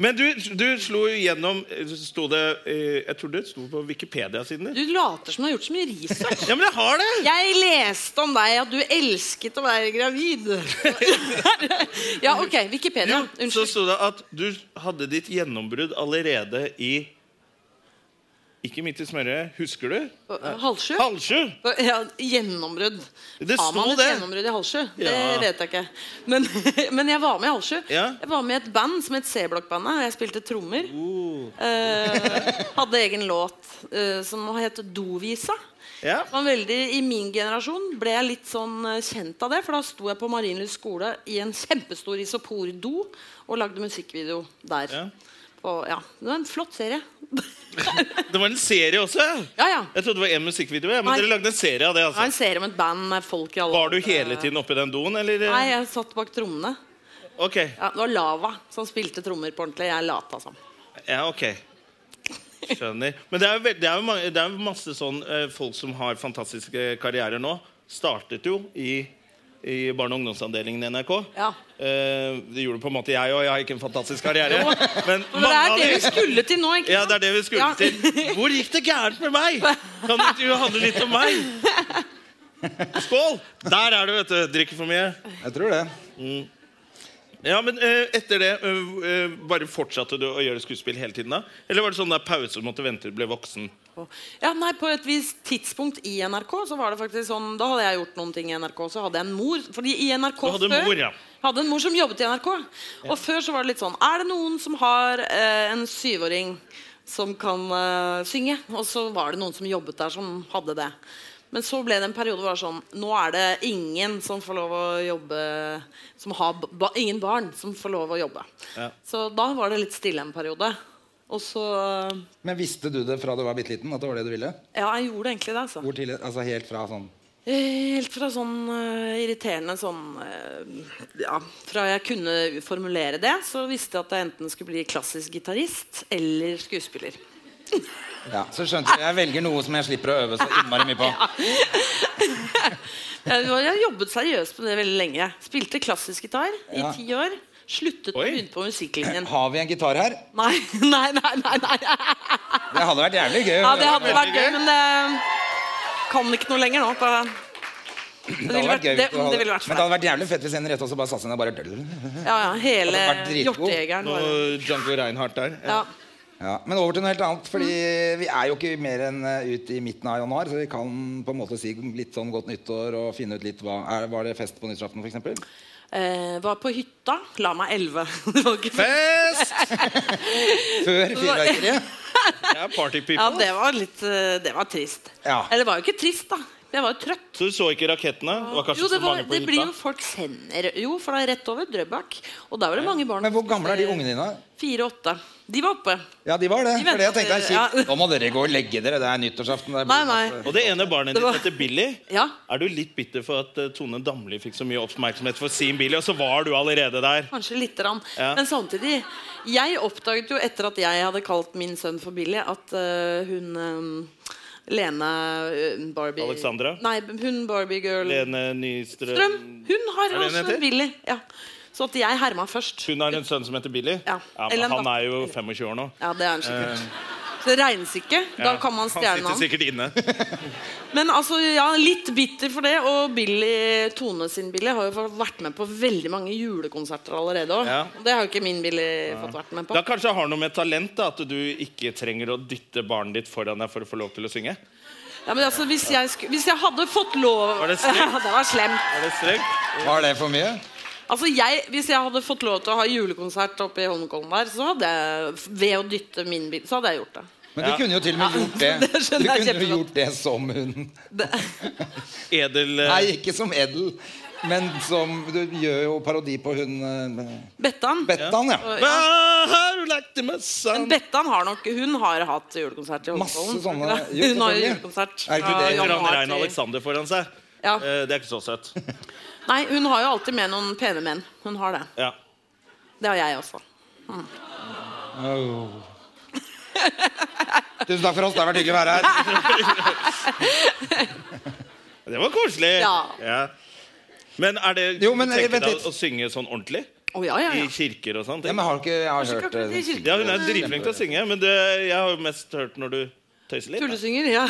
Speaker 1: Men du, du slo jo gjennom Sto det eh, Jeg tror det sto på Wikipedia-siden
Speaker 3: Du
Speaker 1: din.
Speaker 3: later som du har gjort så mye research.
Speaker 1: Ja, men jeg har det!
Speaker 3: Jeg leste om deg at du elsket å være gravid. <laughs> ja, OK. Wikipedia.
Speaker 1: Jo, så
Speaker 3: Unnskyld.
Speaker 1: sto det at du hadde ditt gjennombrudd allerede i Ikke midt i smørøyet. Husker du?
Speaker 3: Halv sju?
Speaker 1: Halv sju!
Speaker 3: Ja, gjennombrudd.
Speaker 1: Det
Speaker 3: Har man
Speaker 1: sto
Speaker 3: et
Speaker 1: det.
Speaker 3: gjennombrudd i halv sju? Det
Speaker 1: Ja.
Speaker 3: vet jeg ikke. Men, <laughs> men jeg var med i halv sju.
Speaker 1: Ja.
Speaker 3: Jeg var med i et band som het C-blokkbandet. Jeg spilte trommer.
Speaker 1: Oh.
Speaker 3: Eh, hadde egen låt eh, som het Dovisa.
Speaker 1: Ja.
Speaker 3: Det var veldig, I min generasjon ble jeg litt sånn eh, kjent av det. For da sto jeg på Marienlyst skole i en kjempestor isopordo og lagde musikkvideo der.
Speaker 1: Ja.
Speaker 3: Og, ja. Det var en flott serie. <laughs>
Speaker 1: Det var en serie også.
Speaker 3: ja, ja.
Speaker 1: Jeg trodde det var én musikkvideo. ja, Men
Speaker 3: Nei.
Speaker 1: dere lagde en serie av det.
Speaker 3: Det var
Speaker 1: altså
Speaker 3: en serie om et band med folk i alle
Speaker 1: Var du hele tiden oppi den doen, eller?
Speaker 3: Nei, jeg satt bak trommene.
Speaker 1: Ok.
Speaker 3: Ja, det var Lava som spilte trommer på ordentlig. Jeg altså. lata som.
Speaker 1: Ja, ok. Skjønner. Men det er jo, veld- det er jo, mange, det er jo masse sånn eh, folk som har fantastiske karrierer nå. Startet jo i, i barne- og ungdomsavdelingen i NRK.
Speaker 3: Ja.
Speaker 1: Eh, det gjorde på en måte jeg òg. Jeg har ikke en fantastisk
Speaker 3: <laughs>
Speaker 1: karriere. Men
Speaker 3: Men det er det vi
Speaker 1: de-
Speaker 3: skulle til nå, ikke
Speaker 1: ja, det er det vi skulle
Speaker 3: Ja.
Speaker 1: til. Hvor gikk det gærent med meg? Kan intervjuet handle litt om
Speaker 3: <laughs>
Speaker 1: meg? Skål! Der er du, vet du. Drikker for mye.
Speaker 2: Jeg tror det.
Speaker 1: Ja, men eh, etter det, eh, eh, bare fortsatte du å gjøre skuespill hele tiden da? Eller var det sånn der pause du måtte vente til du ble voksen?
Speaker 3: Ja, nei, På et visst tidspunkt i NRK så var det faktisk sånn Da hadde jeg gjort noen ting i NRK. Så hadde jeg en mor. Fordi i NRK
Speaker 1: Du hadde en
Speaker 3: før
Speaker 1: mor, ja.
Speaker 3: hadde en mor som jobbet i NRK. Og før så var det litt sånn Er det noen som har eh, en syvåring som kan eh, synge? Og så var det noen som jobbet der, som hadde det. Men så ble det en periode hvor det var sånn Nå er det ingen som får lov å jobbe som har b- ba, Ingen barn som får lov å jobbe.
Speaker 1: Ja.
Speaker 3: Så da var det litt stille en periode. Og så
Speaker 2: Men visste du det fra du var bitte liten? At det var det du ville?
Speaker 3: Ja, jeg gjorde egentlig det, altså.
Speaker 2: Hvor tidlig? Altså helt fra sånn
Speaker 3: Eh, Helt fra sånn eh, irriterende sånn eh, Ja, fra jeg kunne formulere det, så visste jeg at jeg enten skulle bli klassisk gitarist eller skuespiller. <laughs>
Speaker 2: Ja, Så skjønte jeg jeg velger noe som jeg slipper å øve så innmari mye på.
Speaker 3: Jeg, var- jeg jobbet seriøst med det veldig lenge. Spilte klassisk gitar i
Speaker 2: Ja.
Speaker 3: ti år. Sluttet og
Speaker 1: Oi.
Speaker 3: begynte på musikklinjen.
Speaker 2: Har vi en gitar her?
Speaker 3: Nei, <laughs> nei, nei. nei, nei.
Speaker 2: Det hadde vært jævlig gøy.
Speaker 3: Ja, det hadde
Speaker 1: veldig
Speaker 3: vært gøy,
Speaker 1: gøy.
Speaker 3: men det kan ikke noe lenger nå. da- Det
Speaker 2: Det
Speaker 3: ville
Speaker 2: hadde vært
Speaker 3: vært,
Speaker 2: gøy
Speaker 3: det,
Speaker 2: hvis du hadde-
Speaker 3: det ville
Speaker 2: Men det
Speaker 3: vært
Speaker 2: hadde
Speaker 3: flaut.
Speaker 2: vært jævlig fett hvis en rett også bare satt seg ned og bare
Speaker 3: Ja, ja, hele
Speaker 2: hadde vært dritgod.
Speaker 3: hjortejegeren.
Speaker 1: Noe
Speaker 3: bare.
Speaker 1: <laughs> Django Reinhardt der.
Speaker 3: Ja.
Speaker 2: ja. Men over til noe helt annet. Fordi vi er jo ikke mer enn eh, ut i midten av januar, så vi kan på en måte si litt sånn godt nyttår og finne ut litt hva er, Var det fest på nyttårsaften, f.eks.?
Speaker 3: Eh, var på hytta. La meg elleve. <laughs> Det var ikke
Speaker 1: Fest!
Speaker 2: <laughs> Før fyrverkeriet?
Speaker 1: Jeg er party people.
Speaker 3: Ja, det var litt eh, Det var trist.
Speaker 2: Ja.
Speaker 3: Eller det var jo ikke trist, da. Jeg var jo trøtt.
Speaker 1: Så du så ikke rakettene? Det var kanskje
Speaker 3: Jo, det,
Speaker 1: så
Speaker 3: var,
Speaker 1: mange på
Speaker 3: det blir jo
Speaker 1: hytta.
Speaker 3: folk sender Jo, for det er rett over Drøbak. Og der var det mange barn.
Speaker 2: Men hvor gamle er de ungene dine?
Speaker 3: Fire og åtte. De var oppe.
Speaker 2: Ja, de var det.
Speaker 3: De
Speaker 2: For det jeg tenkte er
Speaker 3: venter, ja.
Speaker 2: kjipt. Nå må dere gå og legge dere. Det er nyttårsaften. Det er
Speaker 3: Nei, nei.
Speaker 1: Og det ene barnet
Speaker 3: Det
Speaker 1: ditt
Speaker 3: var-
Speaker 1: heter Billy.
Speaker 3: Ja.
Speaker 1: Er du litt bitter for at eh, Tone Damli fikk så mye oppmerksomhet for sin Billy, og så var du allerede der?
Speaker 3: Kanskje lite grann.
Speaker 1: Ja.
Speaker 3: Men samtidig Jeg oppdaget jo etter at jeg hadde kalt min sønn for Billy, at eh, hun eh, Lene eh, Barbie
Speaker 1: Alexandra?
Speaker 3: Nei, hun Barbie-girl
Speaker 1: Lene Nystrøm
Speaker 3: Mm. Strøm. Hun
Speaker 1: Er
Speaker 3: har
Speaker 1: det hun
Speaker 3: også
Speaker 1: heter?
Speaker 3: Billy. Ja. Så at jeg herma først.
Speaker 1: Hun har en sønn som heter Billy.
Speaker 3: Ja.
Speaker 1: men
Speaker 3: Eller en
Speaker 1: han
Speaker 3: datter.
Speaker 1: er jo 25 år nå.
Speaker 3: Ja, det er han sikkert. Så det regnes ikke. Da
Speaker 1: Eh. Ja,
Speaker 3: kan man stjele
Speaker 1: Han
Speaker 3: navn.
Speaker 1: sitter sikkert inne.
Speaker 3: Men altså, ja, litt bitter for det. Og Billy, Tone sin Billy har jo vært med på veldig mange julekonserter allerede. også.
Speaker 1: Ja.
Speaker 3: Og Det har jo ikke min Billy fått vært med på.
Speaker 1: Da kanskje har noe med talent da, at du ikke trenger å dytte barnet ditt foran deg for å få lov til å synge.
Speaker 3: Ja, men altså, hvis jeg, sku, hvis jeg hadde fått lov <laughs>
Speaker 1: Var det slemt?
Speaker 3: det var slemt.
Speaker 1: Er det strengt?
Speaker 2: Var det for mye?
Speaker 3: Altså, jeg, hvis jeg hadde fått lov til å ha julekonsert oppe i Holmenkollen der, så hadde jeg, ved å dytte min bil, så hadde jeg gjort det.
Speaker 2: Men du kunne jo til og med
Speaker 3: Ja,
Speaker 2: gjort det.
Speaker 3: <laughs> det skjønner
Speaker 2: Du
Speaker 3: jeg
Speaker 2: kunne jo
Speaker 3: kjempegodt.
Speaker 2: gjort det som hun.
Speaker 1: Edel eh,
Speaker 2: Nei, ikke som Edel, men som Du gjør jo parodi på hun eh,
Speaker 3: <laughs> Bettan.
Speaker 2: Bettan, ja.
Speaker 3: Så,
Speaker 1: Hva
Speaker 3: ja.
Speaker 1: har du lagt i møssa?
Speaker 3: Men Bettan har nok Hun har hatt julekonsert i
Speaker 2: Masse
Speaker 3: Holmenkollen. tror du
Speaker 2: sånne-
Speaker 3: ikke det?
Speaker 2: jo,
Speaker 3: Hun har jo
Speaker 2: selvfølgelig.
Speaker 3: julekonsert.
Speaker 2: Er ikke
Speaker 3: fra
Speaker 2: det-
Speaker 1: Etter han
Speaker 3: januar
Speaker 1: Rein
Speaker 3: til-
Speaker 1: Alexander foran seg.
Speaker 3: Ja.
Speaker 1: Eh, Det er ikke så søtt.
Speaker 3: Nei, hun har jo alltid med noen pene menn. Hun har det.
Speaker 1: Ja.
Speaker 3: Det har jeg også.
Speaker 2: Au. Tusen takk for oss. Det har vært hyggelig å være her.
Speaker 1: Det var koselig.
Speaker 3: Ja.
Speaker 1: Men er det
Speaker 2: Jo, men,
Speaker 1: tenker
Speaker 2: vent
Speaker 1: deg
Speaker 2: litt.
Speaker 1: å synge sånn ordentlig?
Speaker 3: Å ja, ja,
Speaker 1: I
Speaker 3: ja.
Speaker 1: kirker og sånn?
Speaker 2: Ja, men har ikke, jeg har
Speaker 3: Kanskje
Speaker 2: hørt eh,
Speaker 3: ikke
Speaker 2: det.
Speaker 3: i kirken.
Speaker 1: Ja, hun er dritflink til å synge, men det, jeg har jo mest hørt når du tøyser litt. da.
Speaker 3: Tullesynger, ja.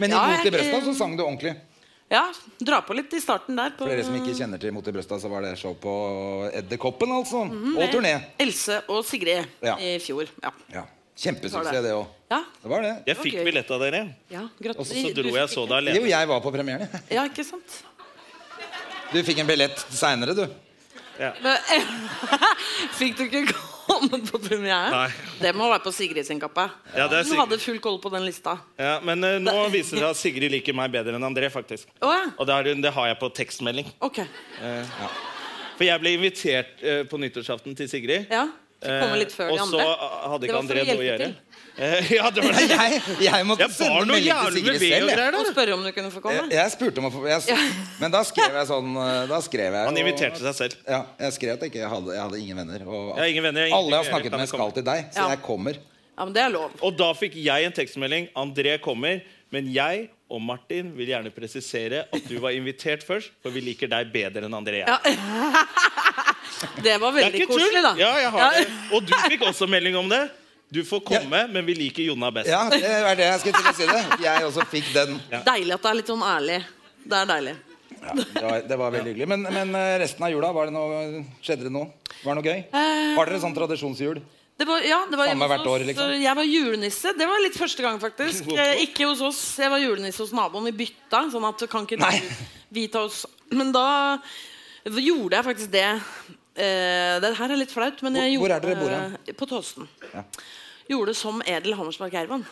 Speaker 2: Men i
Speaker 3: <laughs> Ja,
Speaker 2: Mot i
Speaker 3: jeg-
Speaker 2: brøsta så sang du ordentlig.
Speaker 3: ja. Dra på litt i starten der. På,
Speaker 2: For dere som ikke kjenner til Mot i brøsta, så var det show på Edderkoppen, altså.
Speaker 3: Mm,
Speaker 2: Og turné.
Speaker 3: Else og Sigrid
Speaker 2: Ja.
Speaker 3: i fjor. Ja.
Speaker 2: Ja. Kjempesuksess, det òg.
Speaker 3: ja.
Speaker 2: Det var det.
Speaker 1: Jeg fikk
Speaker 3: Ok.
Speaker 1: billett av dere,
Speaker 3: ja
Speaker 1: og så
Speaker 3: Gratulerer.
Speaker 1: dro jeg så det
Speaker 2: Jo,
Speaker 1: alene.
Speaker 2: jeg var på premieren. jeg.
Speaker 3: Ja, ikke sant?
Speaker 2: Du fikk en billett seinere, du.
Speaker 3: Men, <laughs> fikk du ikke komme på premiere?
Speaker 1: Nei.
Speaker 3: Det må være på Sigrid sin kappe.
Speaker 1: Ja, det er
Speaker 3: hun
Speaker 1: Sigrid.
Speaker 3: hadde full koll på den lista.
Speaker 1: Ja, men eh, nå viser det seg at Sigrid liker meg bedre enn André, faktisk.
Speaker 3: Å ja.
Speaker 1: Og det har, hun- det har jeg på tekstmelding.
Speaker 3: Ok. Eh.
Speaker 1: For jeg ble invitert eh, på nyttårsaften til Sigrid.
Speaker 3: Ja. Fikk komme
Speaker 1: Eh,
Speaker 3: litt før de
Speaker 1: og så
Speaker 3: andre.
Speaker 1: eh, hadde
Speaker 3: Det
Speaker 1: ikke
Speaker 3: var for å
Speaker 1: André noe å
Speaker 3: hjelpe
Speaker 1: gjøre.
Speaker 3: til.
Speaker 1: <laughs> Eh, ja, det var
Speaker 2: Nei,
Speaker 1: det.
Speaker 2: jeg, jeg måtte
Speaker 1: Jeg
Speaker 2: sende
Speaker 1: bar
Speaker 2: melding
Speaker 1: noe
Speaker 2: til
Speaker 1: jævlig
Speaker 2: Sigrid
Speaker 1: ved og
Speaker 2: selv. jeg.
Speaker 1: greier
Speaker 3: Og
Speaker 1: der.
Speaker 3: spørre om du kunne få
Speaker 1: Eh,
Speaker 2: Jeg,
Speaker 3: komme.
Speaker 2: jeg spurte om å få jeg, s- Men da skrev jeg sånn eh, Da skrev jeg
Speaker 1: Han
Speaker 2: jo-
Speaker 1: inviterte seg selv.
Speaker 2: Ja, jeg skrev at jeg ikke hadde, jeg hadde ingen venner. Og at
Speaker 1: Jeg har ingen venner, jeg har
Speaker 2: alle jeg har
Speaker 1: ingenting å gjøre,
Speaker 2: snakket
Speaker 1: kan
Speaker 2: med,
Speaker 1: jeg
Speaker 2: skal
Speaker 1: komme?
Speaker 2: til deg. Så
Speaker 3: Ja.
Speaker 2: jeg kommer.
Speaker 3: Ja, men det er lov.
Speaker 1: Og da fikk jeg en tekstmelding. André kommer. Men jeg og Martin vil gjerne presisere at du var invitert først, for vi liker deg bedre enn André.
Speaker 3: Ja. Det var
Speaker 1: Det er
Speaker 3: veldig
Speaker 1: ikke tull.
Speaker 3: koselig, da.
Speaker 1: Ja, jeg har
Speaker 3: Ja.
Speaker 1: det. Og du fikk også melding om det. Du får komme, men vi liker Jonna best.
Speaker 2: Ja, det er det jeg skulle til å si det. Jeg også fikk den.
Speaker 3: Deilig at det er litt sånn ærlig. Det er deilig.
Speaker 2: Ja, det, var, det var veldig hyggelig. Men, men eh, resten av jula, var det noe, skjedde det noe? Var det noe
Speaker 3: Eh.
Speaker 2: gøy? Var dere sånn tradisjonsjul?
Speaker 3: Det var, ja, det var
Speaker 2: Samme
Speaker 3: hjemme hos
Speaker 2: hvert år,
Speaker 3: oss.
Speaker 2: liksom.
Speaker 3: Jeg var julenisse. Det var litt første gang,
Speaker 2: <laughs>
Speaker 3: faktisk. Eh, Ikke hos oss. Jeg var julenisse hos naboen. Vi bytta, sånn at kan ikke <laughs>
Speaker 2: Nei.
Speaker 3: vi ta oss Men da gjorde jeg faktisk det. Eh, det her er litt flaut, men jeg
Speaker 2: Hvor- hvor
Speaker 3: gjorde
Speaker 2: er dere bor hen?
Speaker 3: eh, På Tåsen.
Speaker 2: Ja.
Speaker 3: Gjorde som Edel Hammersmark Ervan.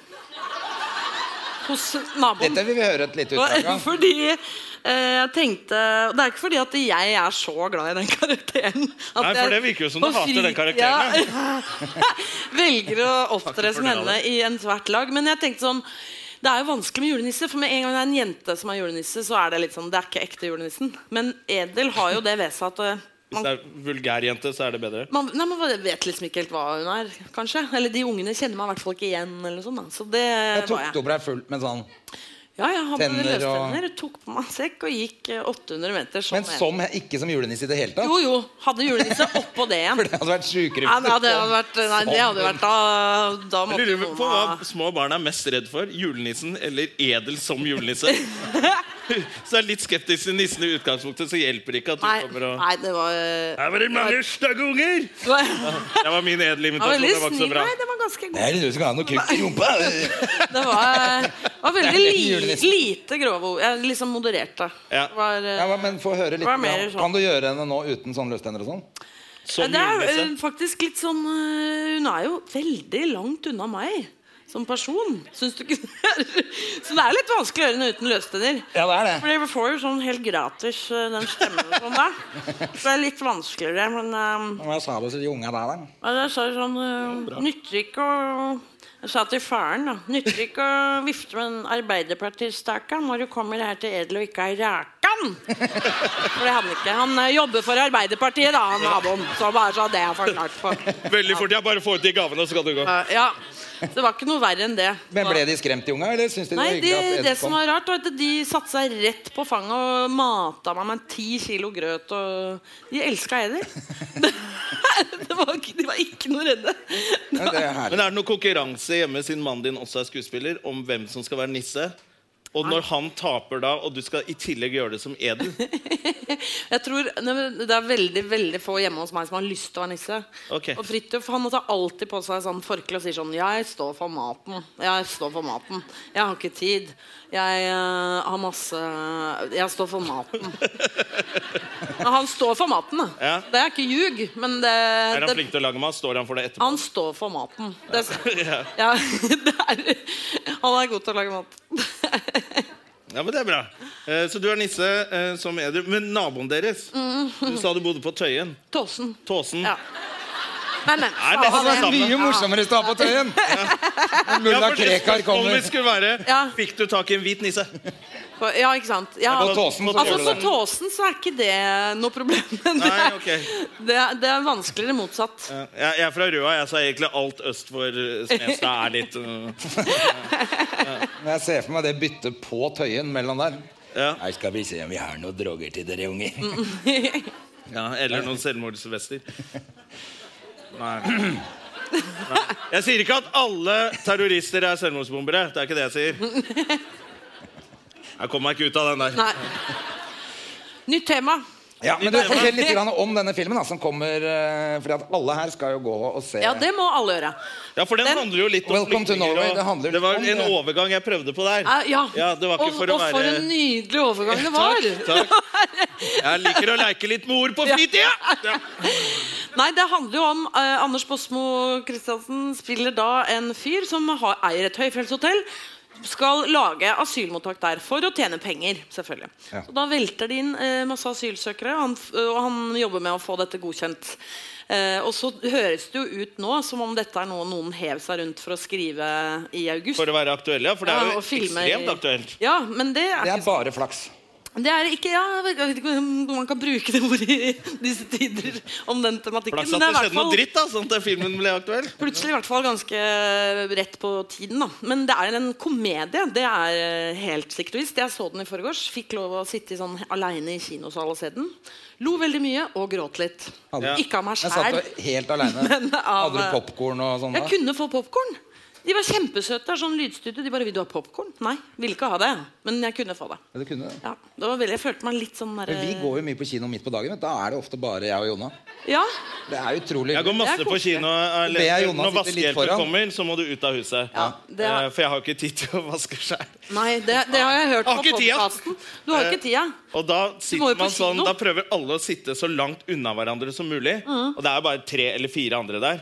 Speaker 3: Hos naboen.
Speaker 2: Dette vil vi høre et lite utdrag av.
Speaker 3: <laughs> Fordi eh, jeg tenkte Det er ikke fordi at jeg er så glad i den karakteren.
Speaker 1: Nei,
Speaker 3: At
Speaker 1: for
Speaker 3: jeg
Speaker 1: det virker jo som du
Speaker 3: på
Speaker 1: hater den
Speaker 3: fri- Ja, <laughs> velger å opptre
Speaker 1: Takk for
Speaker 3: som
Speaker 1: det,
Speaker 3: henne i ethvert lag. Men jeg tenkte sånn det er jo vanskelig med julenisse, for med en gang det er en jente som er julenisse, så er det litt sånn, det er ikke ekte julenissen. Men Edel har jo det ved seg at eh,
Speaker 1: Hvis
Speaker 3: man,
Speaker 1: det er vulgær jente, så er det bedre.
Speaker 3: man, nei, man vet liksom ikke helt hva hun er, kanskje. Eller de ungene kjenner meg i hvert fall ikke igjen. Eller sånn, da. Så det
Speaker 2: Jeg
Speaker 3: var
Speaker 2: tok
Speaker 3: jeg.
Speaker 2: opp deg full med sånn
Speaker 3: Ja, jeg hadde
Speaker 2: Tenner og-
Speaker 3: løstenner, tok på meg en sekk og gikk eh, 800 meter. Sånn
Speaker 2: Men som, ikke som julenisse i det hele tatt?
Speaker 3: Jo, jo. Hadde julenisse oppå det
Speaker 2: <laughs>
Speaker 3: igjen.
Speaker 2: For det hadde vært sjukere.
Speaker 3: Nei, nei, det hadde vært, nei, det hadde vært da, da måtte
Speaker 1: Lurer
Speaker 3: noen
Speaker 1: på
Speaker 3: ha-
Speaker 1: hva små barn er mest redd for. Julenissen eller edel som julenisse?
Speaker 3: <laughs>
Speaker 1: Så jeg er litt skeptisk til nissen i utgangspunktet, så hjelper det ikke at du
Speaker 3: Nei,
Speaker 1: kommer og
Speaker 3: nei, det var eh,
Speaker 1: Her var det mange stygge unger!
Speaker 3: Det var,
Speaker 1: Det var min edle
Speaker 3: det
Speaker 1: invitasjon.
Speaker 3: var veldig
Speaker 1: Det var ikke så
Speaker 3: snill.
Speaker 1: bra.
Speaker 3: Nei, det var ganske
Speaker 2: Det
Speaker 3: god.
Speaker 2: er du som kan ha noe kukk i rumpa.
Speaker 3: Det var, var
Speaker 2: Det
Speaker 3: veldig
Speaker 2: er
Speaker 3: li,
Speaker 2: julenissen.
Speaker 3: lite grove ord. Jeg liksom modererte.
Speaker 1: Ja.
Speaker 3: Det var, eh,
Speaker 2: <laughs> Ja, hva- men få høre litt.
Speaker 3: Hva er mer sånn?
Speaker 2: Kan du gjøre henne nå uten sånne løstenner og sånn?
Speaker 3: Ja,
Speaker 1: Som
Speaker 3: det er eh,
Speaker 1: julenisse.
Speaker 3: faktisk litt sånn eh, Hun er jo veldig langt unna meg som person. Syns du ikke det? Så det er <laughs> litt vanskelig å gjøre henne uten løstenner.
Speaker 2: Ja, det er det.
Speaker 3: For vi får jo sånn helt gratis eh, den stemmen sånn da. Så det er litt vanskeligere. Men eh,
Speaker 2: Hva sa du til de unga der, da?
Speaker 3: men jeg sa jo sånn eh, Nytter ikke å Jeg sa til faren, da. Nytter ikke å vifte med en Arbeiderpartistake når du kommer her til Edel og ikke er rakan. For det hadde han ikke. Han eh, jobber for Arbeiderpartiet, da, han naboen. Så bare så det er forklart for.
Speaker 1: Veldig fort. Jeg bare får ut de gavene, og så kan du gå.
Speaker 3: Eh, Ja, så det var ikke noe verre enn det.
Speaker 2: Men Ble de skremt, de unga? Eller syns de det var
Speaker 3: Nei, det,
Speaker 2: hyggelig at Ed
Speaker 3: det som
Speaker 2: kom?
Speaker 3: var rart, var at de satte seg rett på fanget og mata meg med ti kilo grøt. Og de elska Eder. Det, <laughs> det var, ikke- de var ikke noe redde.
Speaker 2: Ja, det er herlig.
Speaker 1: Men er det noen konkurranse hjemme siden mannen din også er skuespiller, om hvem som skal være nisse? Og når han taper da, og du skal i tillegg gjøre det som edel
Speaker 3: <laughs> Jeg tror, nei, men Det er veldig veldig få hjemme hos meg som har lyst til å være nisse.
Speaker 1: Ok.
Speaker 3: Og Fridtjof han tar alltid på seg sånn forkle og sier sånn 'Jeg står for maten. Jeg står for maten. Jeg har ikke tid. Jeg eh, har masse Jeg står for maten.'
Speaker 1: <laughs>
Speaker 3: Men han står for maten, da.
Speaker 1: Ja.
Speaker 3: Det er ikke ljug, men det,
Speaker 1: Er han
Speaker 3: det
Speaker 1: flink til å lage mat? Står han for det etterpå?
Speaker 3: han står for maten. Det,
Speaker 1: <laughs>
Speaker 3: ja, <laughs> det er, han er god til å lage mat.
Speaker 1: Ja, men det er bra. Eh, Så du er nisse eh, som edel. Men naboen deres Du sa du bodde på Tøyen.
Speaker 3: <laughs> Tåsen.
Speaker 1: Tåsen.
Speaker 3: Mm. Ja. Nei, men
Speaker 1: Er det
Speaker 3: faen,
Speaker 1: det
Speaker 3: jeg-
Speaker 1: samme?
Speaker 2: Mye morsommere i stad på Tøyen! <laughs> Mulla
Speaker 1: for det
Speaker 2: Krekar
Speaker 1: spørsmålet
Speaker 2: kommer.
Speaker 1: mitt skulle være
Speaker 3: Ja.
Speaker 1: Fikk du tak i en hvit nisse?
Speaker 3: På, ja, ikke sant. Ja,
Speaker 2: På Tåsen så
Speaker 3: altså,
Speaker 2: gjør du
Speaker 3: på
Speaker 2: det.
Speaker 3: Tåsen så er ikke det noe problem. Men det,
Speaker 1: Nei,
Speaker 3: er-
Speaker 1: ok.
Speaker 3: det, er- det er vanskeligere motsatt.
Speaker 1: Ja, Jeg, jeg er fra Røa, jeg, så egentlig alt øst for eh, Smestad er litt eh,
Speaker 2: Men Jeg ser for meg det byttet på Tøyen mellom der.
Speaker 1: Ja.
Speaker 2: Her skal vi se om vi har noen droger til dere unger.
Speaker 3: Mm,
Speaker 1: ja, Eller noen selvmordsvester. Nei. Nei. Jeg sier ikke at alle terrorister er selvmordsbombere. Det er ikke det jeg sier.
Speaker 3: <laughs>
Speaker 1: Jeg kommer meg ikke ut av den der.
Speaker 3: Nei. Nytt tema.
Speaker 2: Ja, men du Fortell litt grann om denne filmen, da, som kommer eh, Fordi at alle her skal jo gå og se.
Speaker 3: Ja, det må alle gjøre.
Speaker 1: Ja, for den
Speaker 3: Den-
Speaker 1: handler jo litt om
Speaker 2: Welcome to
Speaker 1: flyktninger,
Speaker 2: Norway,
Speaker 1: og
Speaker 2: det handler
Speaker 1: det var
Speaker 2: om
Speaker 1: en
Speaker 2: det.
Speaker 1: overgang jeg prøvde på der.
Speaker 3: Eh, Ja,
Speaker 1: det var ikke
Speaker 3: og,
Speaker 1: for å
Speaker 3: og
Speaker 1: være
Speaker 3: for en nydelig overgang det var. <laughs>
Speaker 1: Takk, takk. Jeg liker å leke litt med ord på fritida! Ja.
Speaker 3: Nei, det handler jo om eh, Anders Bosmo Christiansen spiller da en fyr som har, eier et høyfjellshotell. Skal lage asylmottak der for å tjene penger, selvfølgelig. Så da velter de inn eh, masse asylsøkere, og han, f- og han jobber med å få dette godkjent. Eh, og så høres det jo ut nå som om dette er noe noen hev seg rundt for å skrive i august.
Speaker 1: For å være aktuell, ja. For det er
Speaker 3: Ja,
Speaker 1: jo
Speaker 3: og filme i-
Speaker 1: ekstremt aktuelt.
Speaker 3: Ja, men det er
Speaker 2: Det
Speaker 3: ikke
Speaker 2: er bare flaks.
Speaker 3: det er ikke, ja, jeg vet jeg vet ikke om man kan bruke det ordet i disse tider om den tematikken.
Speaker 1: Flaks at
Speaker 3: Men det
Speaker 1: det
Speaker 3: er i hvert
Speaker 1: skjedde noe
Speaker 3: fall
Speaker 1: dritt, da, sånn at filmen ble aktuell.
Speaker 3: plutselig i hvert fall ganske rett på tiden. da Men det er en komedie. Det er eh, helt sikkert visst. Jeg så den i forgårs. Fikk lov å sitte sånn aleine i kinosal og se den. Lo veldig mye og gråt litt.
Speaker 2: Hadde-
Speaker 3: Ikke av meg
Speaker 2: Jeg satt
Speaker 3: sjæl.
Speaker 2: jo helt aleine.
Speaker 3: <laughs> Men av- eh,
Speaker 2: Hadde du popkorn og sånn? da?
Speaker 3: Jeg kunne få popkorn. De var kjempesøte. det er Sånn lydstudio. De bare 'Vil du ha popkorn?' Nei, ville ikke ha det. Men jeg kunne få det.
Speaker 2: Ja, du kunne det.
Speaker 3: Ja, det var veldig, Jeg følte meg litt sånn der,
Speaker 2: Men Vi går jo mye på kino midt på dagen. Vet du. Da er det ofte bare jeg og Jonna.
Speaker 3: eh, Ja,
Speaker 2: Det er utrolig.
Speaker 1: Jeg går
Speaker 3: Det
Speaker 1: masse
Speaker 3: er
Speaker 1: på
Speaker 3: koselig.
Speaker 1: kino. eh,
Speaker 2: Det er Jonas
Speaker 1: Når
Speaker 2: sitter litt
Speaker 1: vaskehjelpen
Speaker 2: foran.
Speaker 1: kommer, så må du ut av huset.
Speaker 3: Ja, det er-
Speaker 1: Eh, For jeg har jo ikke tid til å vaske sjæl.
Speaker 3: Nei, det, det har jeg hørt
Speaker 1: Har
Speaker 3: på
Speaker 1: ikke tida. Eh.
Speaker 3: podkasten. Du har ikke tida.
Speaker 1: Og da
Speaker 3: må jo
Speaker 1: sitter
Speaker 3: på
Speaker 1: man sånn
Speaker 3: kino.
Speaker 1: Da prøver alle å sitte så langt unna hverandre som mulig.
Speaker 3: Mm.
Speaker 1: Og det er jo bare tre eller fire andre der.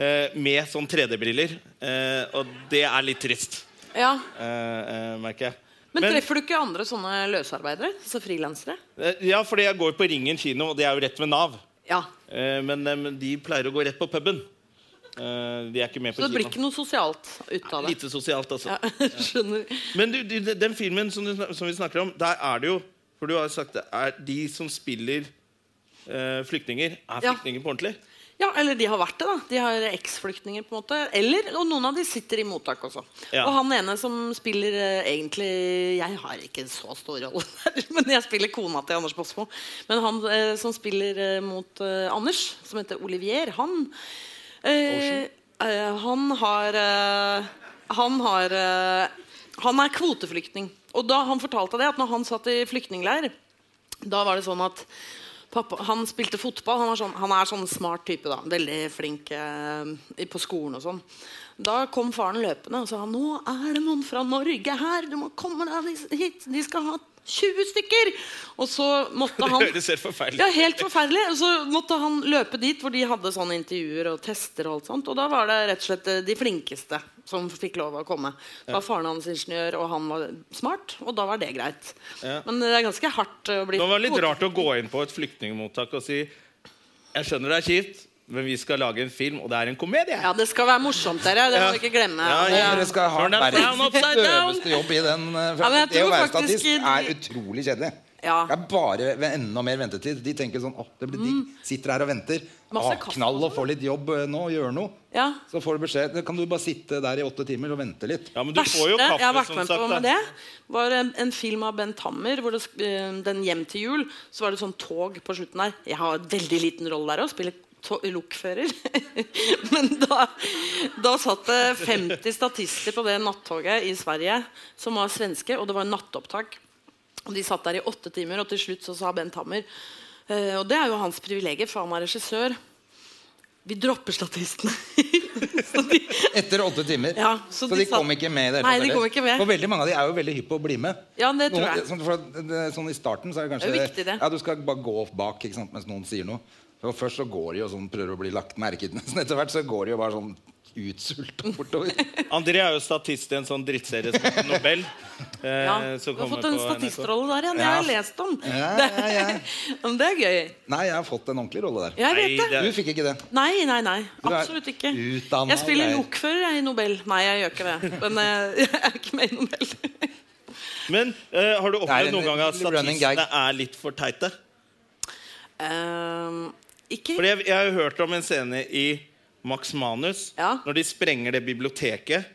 Speaker 1: eh, Med sånn 3D-briller. Eh, Og det er litt trist,
Speaker 3: Ja.
Speaker 1: eh, eh, merker jeg.
Speaker 3: Men, treffer du ikke andre sånne løsarbeidere? Så frilansere?
Speaker 1: eh, Ja, fordi jeg går på Ringen kino, og det er jo rett ved Nav.
Speaker 3: Ja.
Speaker 1: Eh, Men eh, de pleier å gå rett på puben. Eh, De er ikke med på
Speaker 3: Så det blir
Speaker 1: kino.
Speaker 3: ikke noe sosialt ut av det?
Speaker 1: Lite sosialt, altså.
Speaker 3: Ja, <laughs> skjønner.
Speaker 1: Men du, du, den filmen som, du, snak- som vi snakker om, der er det jo For du har jo sagt det er de som spiller eh, flyktninger, er
Speaker 3: Ja.
Speaker 1: flyktninger på ordentlig.
Speaker 3: Ja, eller de har vært det, da. De har eksflyktninger, på en måte. Eller, Og noen av de sitter i mottak også.
Speaker 1: Ja.
Speaker 3: Og han ene som spiller eh, egentlig Jeg har ikke en så stor rolle <laughs> der, men jeg spiller kona til Anders Båsmo. Men han eh, som spiller eh, mot eh, Anders, som heter Olivier, han eh, eh, Han har eh, Han har eh, Han er kvoteflyktning. Og da han fortalte det, at når han satt i flyktningleir da var det sånn at pappa, han spilte fotball. Han, var sånn, han er sånn smart type. da Veldig flink eh, i- på skolen og sånn. Da kom faren løpende og sa Nå er det noen fra Norge her! Du må komme deg hit! De skal ha 20 stykker! Og så
Speaker 1: <laughs>
Speaker 3: måtte han
Speaker 1: Det høres helt forferdelig
Speaker 3: Ja, helt forferdelig. Og så måtte han løpe dit hvor de hadde sånne intervjuer og tester. Og alt sånt Og da var det rett og slett eh, de flinkeste som fikk lov å komme. Det var faren hans ingeniør, og han var smart, og da var det greit.
Speaker 1: Ja.
Speaker 3: Men det er ganske hardt eh, å bli
Speaker 1: Det var litt
Speaker 3: kvote-
Speaker 1: rart å gå inn på et flyktningmottak og si Jeg skjønner det er kjipt, men vi skal lage en film, og det er en komedie.
Speaker 3: Ja, det skal være morsomt, dere. Det
Speaker 1: Ja.
Speaker 3: må du ikke glemme.
Speaker 1: Ja,
Speaker 3: Det er-
Speaker 2: Dere skal ha
Speaker 1: Turn that
Speaker 2: verdens
Speaker 1: down upside down.
Speaker 2: døveste jobb i den. eh,
Speaker 3: Ja, men jeg
Speaker 2: det å
Speaker 3: tror
Speaker 2: være
Speaker 3: faktisk
Speaker 2: statist
Speaker 3: i-
Speaker 2: er utrolig kjedelig.
Speaker 3: Ja.
Speaker 2: Det er bare ve- enda mer ventetid. De tenker sånn åh, det blir digg. Sitter her og venter.
Speaker 3: Mm. Masse
Speaker 2: Åh,
Speaker 3: kaffe sånn.
Speaker 2: knall og få litt jobb eh, nå. Gjøre noe.
Speaker 3: Ja.
Speaker 2: Så får du beskjed. Kan du bare sitte der i åtte timer og vente litt?
Speaker 1: Ja, men du
Speaker 3: Verste
Speaker 1: får jo kaffe,
Speaker 3: jeg har vært med
Speaker 1: som sagt.
Speaker 3: på med
Speaker 1: da.
Speaker 3: det, var en, en film av Bent Hammer. Hvor det, sk- eh, den hjem til jul Så var det sånn tog på slutten der. Jeg har en veldig liten rolle der òg. Spiller to- lokfører. <laughs> Men da, da satt det 50 statister på det nattoget i Sverige, som var svenske, og det var nattopptak. Og De satt der i åtte timer, og til slutt så sa Bent Hammer eh, Og det er jo hans privilegier, for han er regissør. Vi dropper statistene. <laughs> så de,
Speaker 2: Etter åtte timer.
Speaker 3: Ja,
Speaker 2: så,
Speaker 3: så
Speaker 2: de,
Speaker 3: de satt-
Speaker 2: kom ikke med i det hele
Speaker 3: Nei, de
Speaker 2: tatt,
Speaker 3: kom
Speaker 2: eller?
Speaker 3: ikke med.
Speaker 2: For veldig mange av de er jo veldig hypp på å bli med.
Speaker 3: Ja, det tror
Speaker 2: Noen-
Speaker 3: jeg.
Speaker 2: Sånn, for, det- sånn i starten så er det kanskje
Speaker 3: Det er jo viktig, det.
Speaker 2: Ja, du skal bare gå opp bak ikke sant, mens noen sier noe. For først så går de og sånn, prøver å bli lagt merke til. <laughs> Nesten etter hvert så går de jo bare sånn utsulta
Speaker 3: <laughs>
Speaker 2: bortover.
Speaker 1: André er jo statist i en sånn drittserie som heter Nobel. eh,
Speaker 3: Ja,
Speaker 1: som
Speaker 3: du har
Speaker 1: kommer
Speaker 3: fått en
Speaker 1: på NRK.
Speaker 3: statistrolle der igjen. Det
Speaker 2: Ja.
Speaker 3: har jeg lest om.
Speaker 2: Ja,
Speaker 3: Det-
Speaker 2: ja, ja.
Speaker 3: <laughs> Men det er gøy.
Speaker 2: Nei, jeg har fått en ordentlig rolle der.
Speaker 3: Jeg
Speaker 1: Nei,
Speaker 3: vet det.
Speaker 2: Du fikk ikke det.
Speaker 3: Nei, nei, nei.
Speaker 2: Du er
Speaker 3: Absolutt ikke.
Speaker 2: utdannet
Speaker 3: Jeg spiller
Speaker 2: greier.
Speaker 3: lokfører jeg, i Nobel. Nei, jeg gjør ikke det. Men eh, <laughs> jeg er ikke med
Speaker 1: <laughs>
Speaker 3: i Nobel.
Speaker 1: Men eh, har du
Speaker 2: Det er
Speaker 1: opplevd
Speaker 2: en
Speaker 1: noen gang at
Speaker 2: running gag.
Speaker 1: statistene er litt for teite?
Speaker 3: Ehm, ikke
Speaker 1: Fordi jeg, jeg har jo hørt om en scene i Max Manus
Speaker 3: Ja.
Speaker 1: Når de sprenger det biblioteket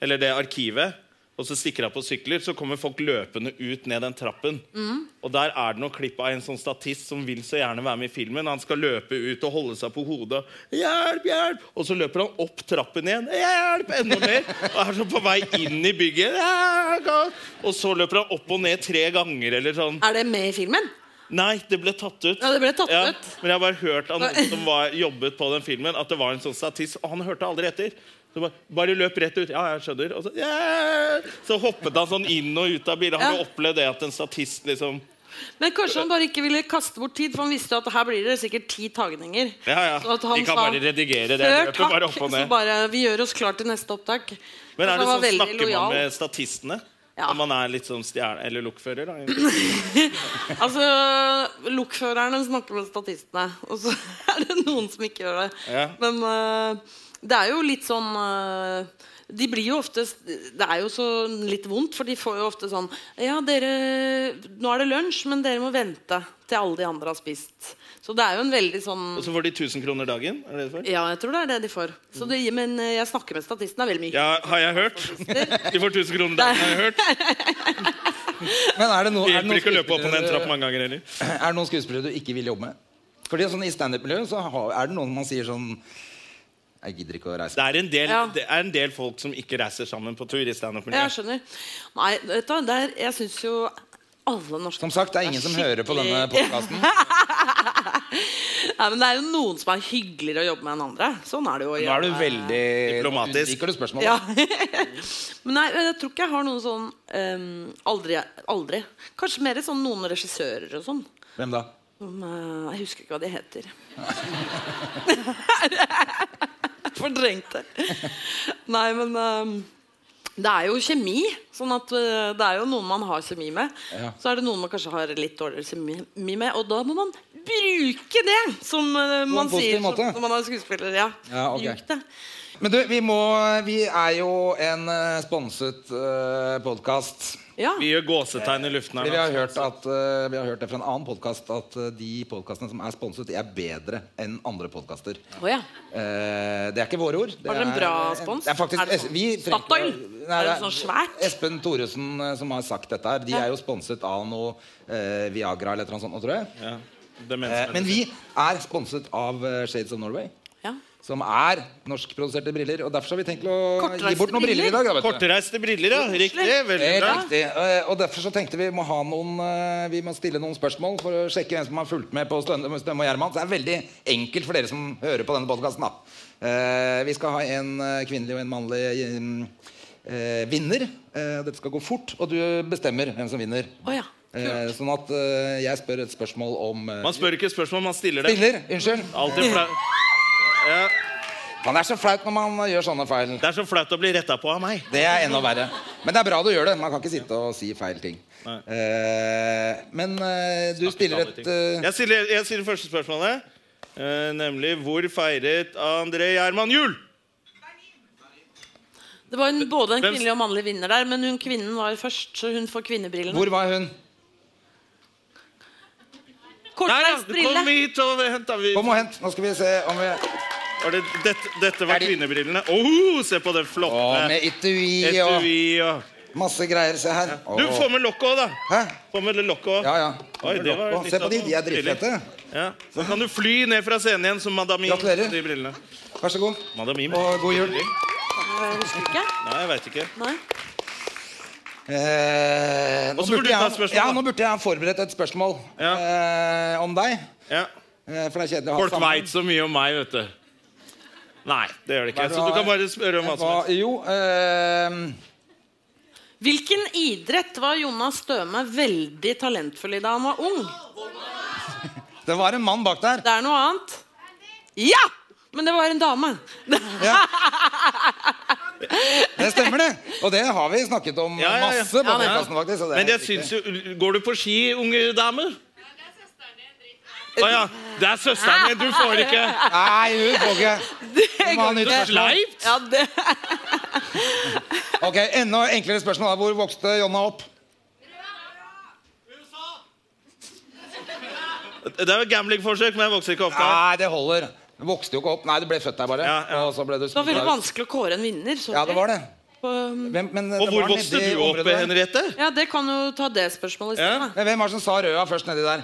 Speaker 1: Eller det arkivet Og så stikker av på sykler Så kommer folk løpende ut ned den trappen
Speaker 3: Mm.
Speaker 1: Og der er det noe klipp av en sånn statist Som vil så gjerne være med i filmen Han skal løpe ut og holde seg på hodet Hjelp, hjelp Og så løper han opp trappen igjen Hjelp, enda mer Og er så på vei inn i bygget Hjelp! Og så løper han opp og ned tre ganger Eller sånn
Speaker 3: Er det med i filmen?
Speaker 1: Nei, det ble tatt ut.
Speaker 3: Ja, det ble tatt ut.
Speaker 1: Men jeg har bare hørt av noen <laughs> som var, jobbet på den filmen, at det var en sånn statist, og han hørte aldri etter. Så bare, bare løp rett ut. Ja, jeg skjønner. Og så, «Ja!» så hoppet han sånn inn og ut av bilen. Har
Speaker 3: Ja.
Speaker 1: du opplevd det at en statist liksom
Speaker 3: Men kanskje han bare ikke ville kaste bort tid, for han visste jo at her blir det sikkert ti tagninger.
Speaker 1: Ja, ja.
Speaker 3: Så at han
Speaker 1: De kan
Speaker 3: sa,
Speaker 1: bare redigere det.
Speaker 3: «Før
Speaker 1: Løper bare
Speaker 3: takk»,
Speaker 1: opp og ned.
Speaker 3: Så bare, vi gjør oss klar til neste opptak.
Speaker 1: Men
Speaker 3: Så
Speaker 1: er det
Speaker 3: han var
Speaker 1: sånn
Speaker 3: veldig
Speaker 1: snakker
Speaker 3: lojal.
Speaker 1: man med statistene?
Speaker 3: Ja.
Speaker 1: Om man er litt sånn stjerne... Eller lokfører,
Speaker 3: <clears throat>
Speaker 1: da.
Speaker 3: Altså, Lokførerne snakker med statistene, og så <laughs> er det noen som ikke gjør det.
Speaker 1: Ja.
Speaker 3: Men eh, det er jo litt sånn eh, De blir jo ofte Det er jo så litt vondt, for de får jo ofte sånn Ja, dere Nå er det lunsj, men dere må vente til alle de andre har spist. Så det er jo en veldig sånn
Speaker 1: Og så får de 1000 kroner dagen? Er det det for?
Speaker 3: Ja, jeg tror det er det de får. Så det, men eh, jeg snakker med statistene veldig mye.
Speaker 1: Ja, har jeg hørt? De får 1000 kroner dagen, har jeg hørt.
Speaker 2: Men er det, noe, er,
Speaker 1: De
Speaker 2: det
Speaker 1: hjelper
Speaker 2: noen
Speaker 1: ikke å løpe opp og ned en trapp
Speaker 2: skuespillere,
Speaker 1: mange ganger heller.
Speaker 2: er det noen skuespillere du ikke vil jobbe med? Fordi sånn I standup-miljøet så har- er det noen man sier sånn Jeg gidder ikke å reise.
Speaker 1: Det er en del,
Speaker 3: Ja.
Speaker 1: det er en del folk som ikke reiser sammen på tur i
Speaker 3: Jeg
Speaker 1: standup-miljøet.
Speaker 3: skjønner. Nei, vet du, hva, der, jeg syns jo alle norske
Speaker 2: Som sagt, det er ingen som hører på
Speaker 3: skikkelig-
Speaker 2: denne podkasten.
Speaker 3: <laughs> Nei, men det er jo noen som er hyggeligere å jobbe med enn andre. Sånn er det jo.
Speaker 2: Nå
Speaker 3: å
Speaker 2: er du
Speaker 3: gjøre-
Speaker 2: veldig
Speaker 1: Diplomatisk.
Speaker 2: Liker du spørsmålet?
Speaker 3: Ja. <laughs> men nei, jeg tror ikke jeg har noen sånn ehm, aldri, aldri. Kanskje mer sånn noen regissører og sånn.
Speaker 2: Hvem da?
Speaker 3: Som, eh, jeg husker ikke hva de
Speaker 2: <laughs>
Speaker 3: heter. Fordrengt det. Nei, men ehm, det er jo kjemi. Sånn at eh, Det er jo noen man har kjemi med.
Speaker 2: Ja.
Speaker 3: Så er det noen man kanskje har litt dårligere kjemi med, og da må man bruke det, som eh, man
Speaker 2: positiv
Speaker 3: sier
Speaker 2: måte.
Speaker 3: når man er skuespiller. Ja.
Speaker 2: Ja, ok.
Speaker 3: Bruk det.
Speaker 2: Men du, vi, må, vi er jo en eh, sponset uh, podkast.
Speaker 3: Ja.
Speaker 1: Vi gjør gåsetegn i luften
Speaker 2: Fordi
Speaker 1: her
Speaker 2: vi har
Speaker 1: nå.
Speaker 2: hørt, at, eh, vi har hørt det fra en annen podkast at eh, de podkastene som er sponset, de er bedre enn andre podkaster.
Speaker 3: Å ja.
Speaker 2: Eh, det er ikke våre ord. Det
Speaker 3: Var det en
Speaker 2: er-
Speaker 3: bra spons?
Speaker 2: Det er faktisk,
Speaker 3: Er det sånn
Speaker 2: vi trenger ikke-
Speaker 3: Statoil?
Speaker 2: Nei,
Speaker 3: Er det
Speaker 2: er
Speaker 3: sånn svært?
Speaker 2: Espen Thoresen eh, som har sagt dette her. De er jo sponset av noe eh, Viagra eller et eller annet sånt. nå, Tror jeg.
Speaker 1: Ja, demensmedisin.
Speaker 2: Eh, men vi er sponset av eh, Shades of Norway.
Speaker 3: ja.
Speaker 2: Som er norskproduserte briller. Og derfor så har vi tenkt å gi
Speaker 3: Kortreiste
Speaker 2: bort noen briller i dag. Da, vet du.
Speaker 1: Kortreiste briller, ja. Riktig. Veldig
Speaker 2: Helt
Speaker 1: bra.
Speaker 2: riktig. Eh, Og derfor så tenkte vi må ha noen eh, Vi må stille noen spørsmål for å sjekke hvem som har fulgt med på Stønne Stømme og Gjerman. Så det er veldig enkelt for dere som hører på denne podkasten. Vi skal ha en eh, kvinnelig og en mannlig eh, eh, vinner. Eh, Dette skal gå fort, og du bestemmer hvem som vinner.
Speaker 3: Å ja.
Speaker 2: Eh, Sånn at eh, jeg spør et spørsmål om eh,
Speaker 1: Man spør ikke spørsmål, man stiller det.
Speaker 2: Spiller, unnskyld.
Speaker 1: Alltid flau. Ja,
Speaker 2: Han er så flaut når man eh, gjør sånne feil.
Speaker 1: det er så flaut å bli retta på av meg.
Speaker 2: Det er enda verre. Men det er bra du gjør det. Man kan ikke sitte og si feil ting.
Speaker 1: Nei.
Speaker 2: Eh, men eh, du stiller et eh,
Speaker 1: Jeg stiller, jeg stiller første spørsmålet, eh, nemlig hvor feiret André Gjerman jul?
Speaker 3: Det var en, både en
Speaker 1: Hvem-
Speaker 3: kvinnelig og mannlig vinner der, men hun kvinnen var først, så hun får kvinnebrillene.
Speaker 2: Hvor var hun?
Speaker 1: Der, ja.
Speaker 3: Kortreist
Speaker 1: Kom
Speaker 3: brille.
Speaker 1: hit og hent, da. Vi,
Speaker 2: Kom og hent. Nå skal vi se om vi
Speaker 1: var det, dette, dette var
Speaker 2: Er de-
Speaker 1: kvinnebrillene. Åh, se på det
Speaker 2: Å,
Speaker 1: flotte
Speaker 2: med etui og
Speaker 1: etui og
Speaker 2: masse greier. Se her. Å.
Speaker 1: Du, få med lokket òg, da.
Speaker 2: Hæ?
Speaker 1: Få med det lokket òg.
Speaker 2: Ja, ja.
Speaker 1: Oi, det var
Speaker 2: Å,
Speaker 1: litt
Speaker 2: se på
Speaker 1: av
Speaker 2: de.
Speaker 1: noe
Speaker 2: De er
Speaker 1: stilig.
Speaker 2: dritfete.
Speaker 1: Ja. Så kan du fly ned fra scenen igjen som Madame Im.
Speaker 2: Gratulerer.
Speaker 1: De brillene.
Speaker 2: Vær så god.
Speaker 1: Madame Im?
Speaker 2: Og god jul.
Speaker 3: Jeg husker ikke.
Speaker 1: Nei, jeg veit ikke.
Speaker 3: Nei.
Speaker 2: Eh, nå,
Speaker 1: Og så burde
Speaker 2: burde
Speaker 1: du ta et
Speaker 2: jeg,
Speaker 1: spørsmål,
Speaker 2: ja,
Speaker 1: da.
Speaker 2: nå burde jeg ha forberedt et spørsmål
Speaker 1: Ja.
Speaker 2: eh, om deg.
Speaker 1: Ja.
Speaker 2: Eh, for det er kjedelig å ha
Speaker 1: Folk veit så mye om meg, vet du. Nei, det gjør de ikke.
Speaker 2: Hva er det
Speaker 1: Så
Speaker 2: du
Speaker 1: du kan
Speaker 2: har-
Speaker 1: bare spørre om hva som
Speaker 2: Hva,
Speaker 1: helst.
Speaker 2: jo eh,
Speaker 3: Hvilken idrett var Jonas Støme veldig talentfull i da han var ung?
Speaker 2: Det var en mann bak der.
Speaker 3: Det er noe annet. Ja! Men det var en dame. <laughs>
Speaker 2: Det stemmer, det. Og det har vi snakket om
Speaker 1: Ja, ja, ja.
Speaker 2: masse på
Speaker 3: Ja, det-
Speaker 2: podcasten, faktisk. så det er
Speaker 1: Men jeg
Speaker 2: riktig.
Speaker 1: syns jo Går du på ski, unge dame? Å ja. Det er søsteren din. Du får ikke
Speaker 2: Nei, hun får ikke Hun må ha nytt spørsmål.
Speaker 1: Sleipt?
Speaker 3: Ja, det.
Speaker 2: Ok, Enda enklere spørsmål. da. Hvor vokste Jonna opp?
Speaker 1: Det er jo et gamblingforsøk, men jeg vokser ikke opp da.
Speaker 2: Nei, det holder. Hun vokste jo ikke opp. Nei, du ble født der, bare.
Speaker 1: Ja, ja.
Speaker 2: Og så ble du
Speaker 3: det var veldig vanskelig å kåre en vinner. sorry.
Speaker 2: Ja, det var det.
Speaker 3: På-
Speaker 2: Hvem, men,
Speaker 1: Og
Speaker 2: det
Speaker 1: hvor
Speaker 2: var
Speaker 1: vokste
Speaker 2: nedi
Speaker 1: du opp,
Speaker 2: området der.
Speaker 1: Henriette?
Speaker 3: Ja, det kan jo ta det spørsmålet i
Speaker 1: Ja.
Speaker 3: stedet. da.
Speaker 2: Men hvem er det som sa røda først nedi der?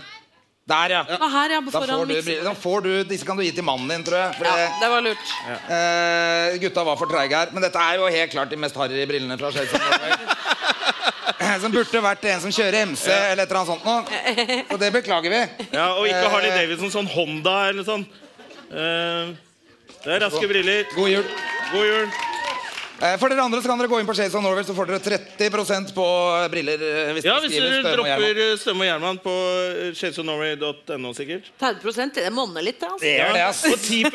Speaker 2: Der, ja.
Speaker 3: Det var her, ja,
Speaker 2: Da får,
Speaker 3: foran
Speaker 2: du,
Speaker 3: miksen.
Speaker 2: da får du, Disse kan du gi til mannen din, tror jeg. For
Speaker 3: Ja,
Speaker 2: det-
Speaker 3: det var lurt.
Speaker 2: Eh, gutta var for treige her, men dette er jo helt klart de mest harry brillene fra Shades of Norway.
Speaker 1: <laughs>
Speaker 2: Eh, Som burde vært en som kjører MC eller et eller annet sånt noe. Så det beklager vi.
Speaker 1: Ja, Og ikke
Speaker 2: Eh.
Speaker 1: Harley Davidson, sånn Honda eller sånn. Eh, det er raske briller.
Speaker 2: God jul.
Speaker 1: God jul.
Speaker 2: Eh, For dere andre så kan dere gå inn på Shades of Norway, så får dere 30 på briller. eh, Hvis
Speaker 1: Ja,
Speaker 2: dere
Speaker 1: hvis
Speaker 2: skriver
Speaker 1: du
Speaker 2: Støme og Gjerman.
Speaker 1: dropper eh, Stømme og Gjerman på eh, shadesofnorway.no, sikkert.
Speaker 3: 30 det monner litt, det.
Speaker 2: Det
Speaker 3: Altså.
Speaker 2: gjør det, ass.
Speaker 1: Og 10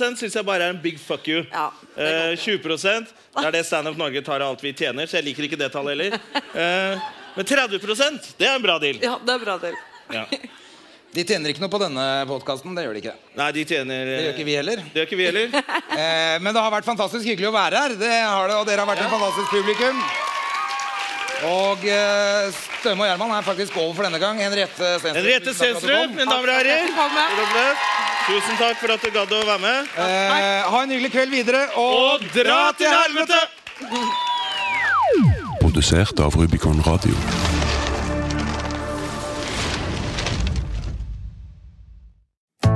Speaker 1: 10 syns jeg bare er en big fuck you.
Speaker 3: Ja, det
Speaker 1: Eh, 20 det er det Stand Up Norge tar av alt vi tjener, så jeg liker ikke det tallet heller. Eh, men 30 det er en bra deal.
Speaker 3: Ja, det er bra, dere.
Speaker 1: Ja.
Speaker 2: De tjener ikke noe på denne podkasten. Det gjør de ikke.
Speaker 1: Nei, de tjener eh,
Speaker 2: Det gjør ikke vi heller.
Speaker 1: Det gjør ikke vi heller.
Speaker 2: Eh, men det har vært fantastisk hyggelig å være her. Det har det, Og dere har vært et fantastisk publikum. Og eh, Støme og Gjerman er faktisk over for denne gang. Henriette Stenstrup.
Speaker 1: Henriette
Speaker 2: tusen takk for at du
Speaker 1: Stenstrup,
Speaker 2: kom.
Speaker 1: mine damer og herrer.
Speaker 3: Velkommen.
Speaker 1: Velkommen. Tusen takk for at du gadd å være med.
Speaker 2: Eh, ha en hyggelig kveld videre, og,
Speaker 1: Og dra til helvete!
Speaker 4: Produsert av Rubicon Radio.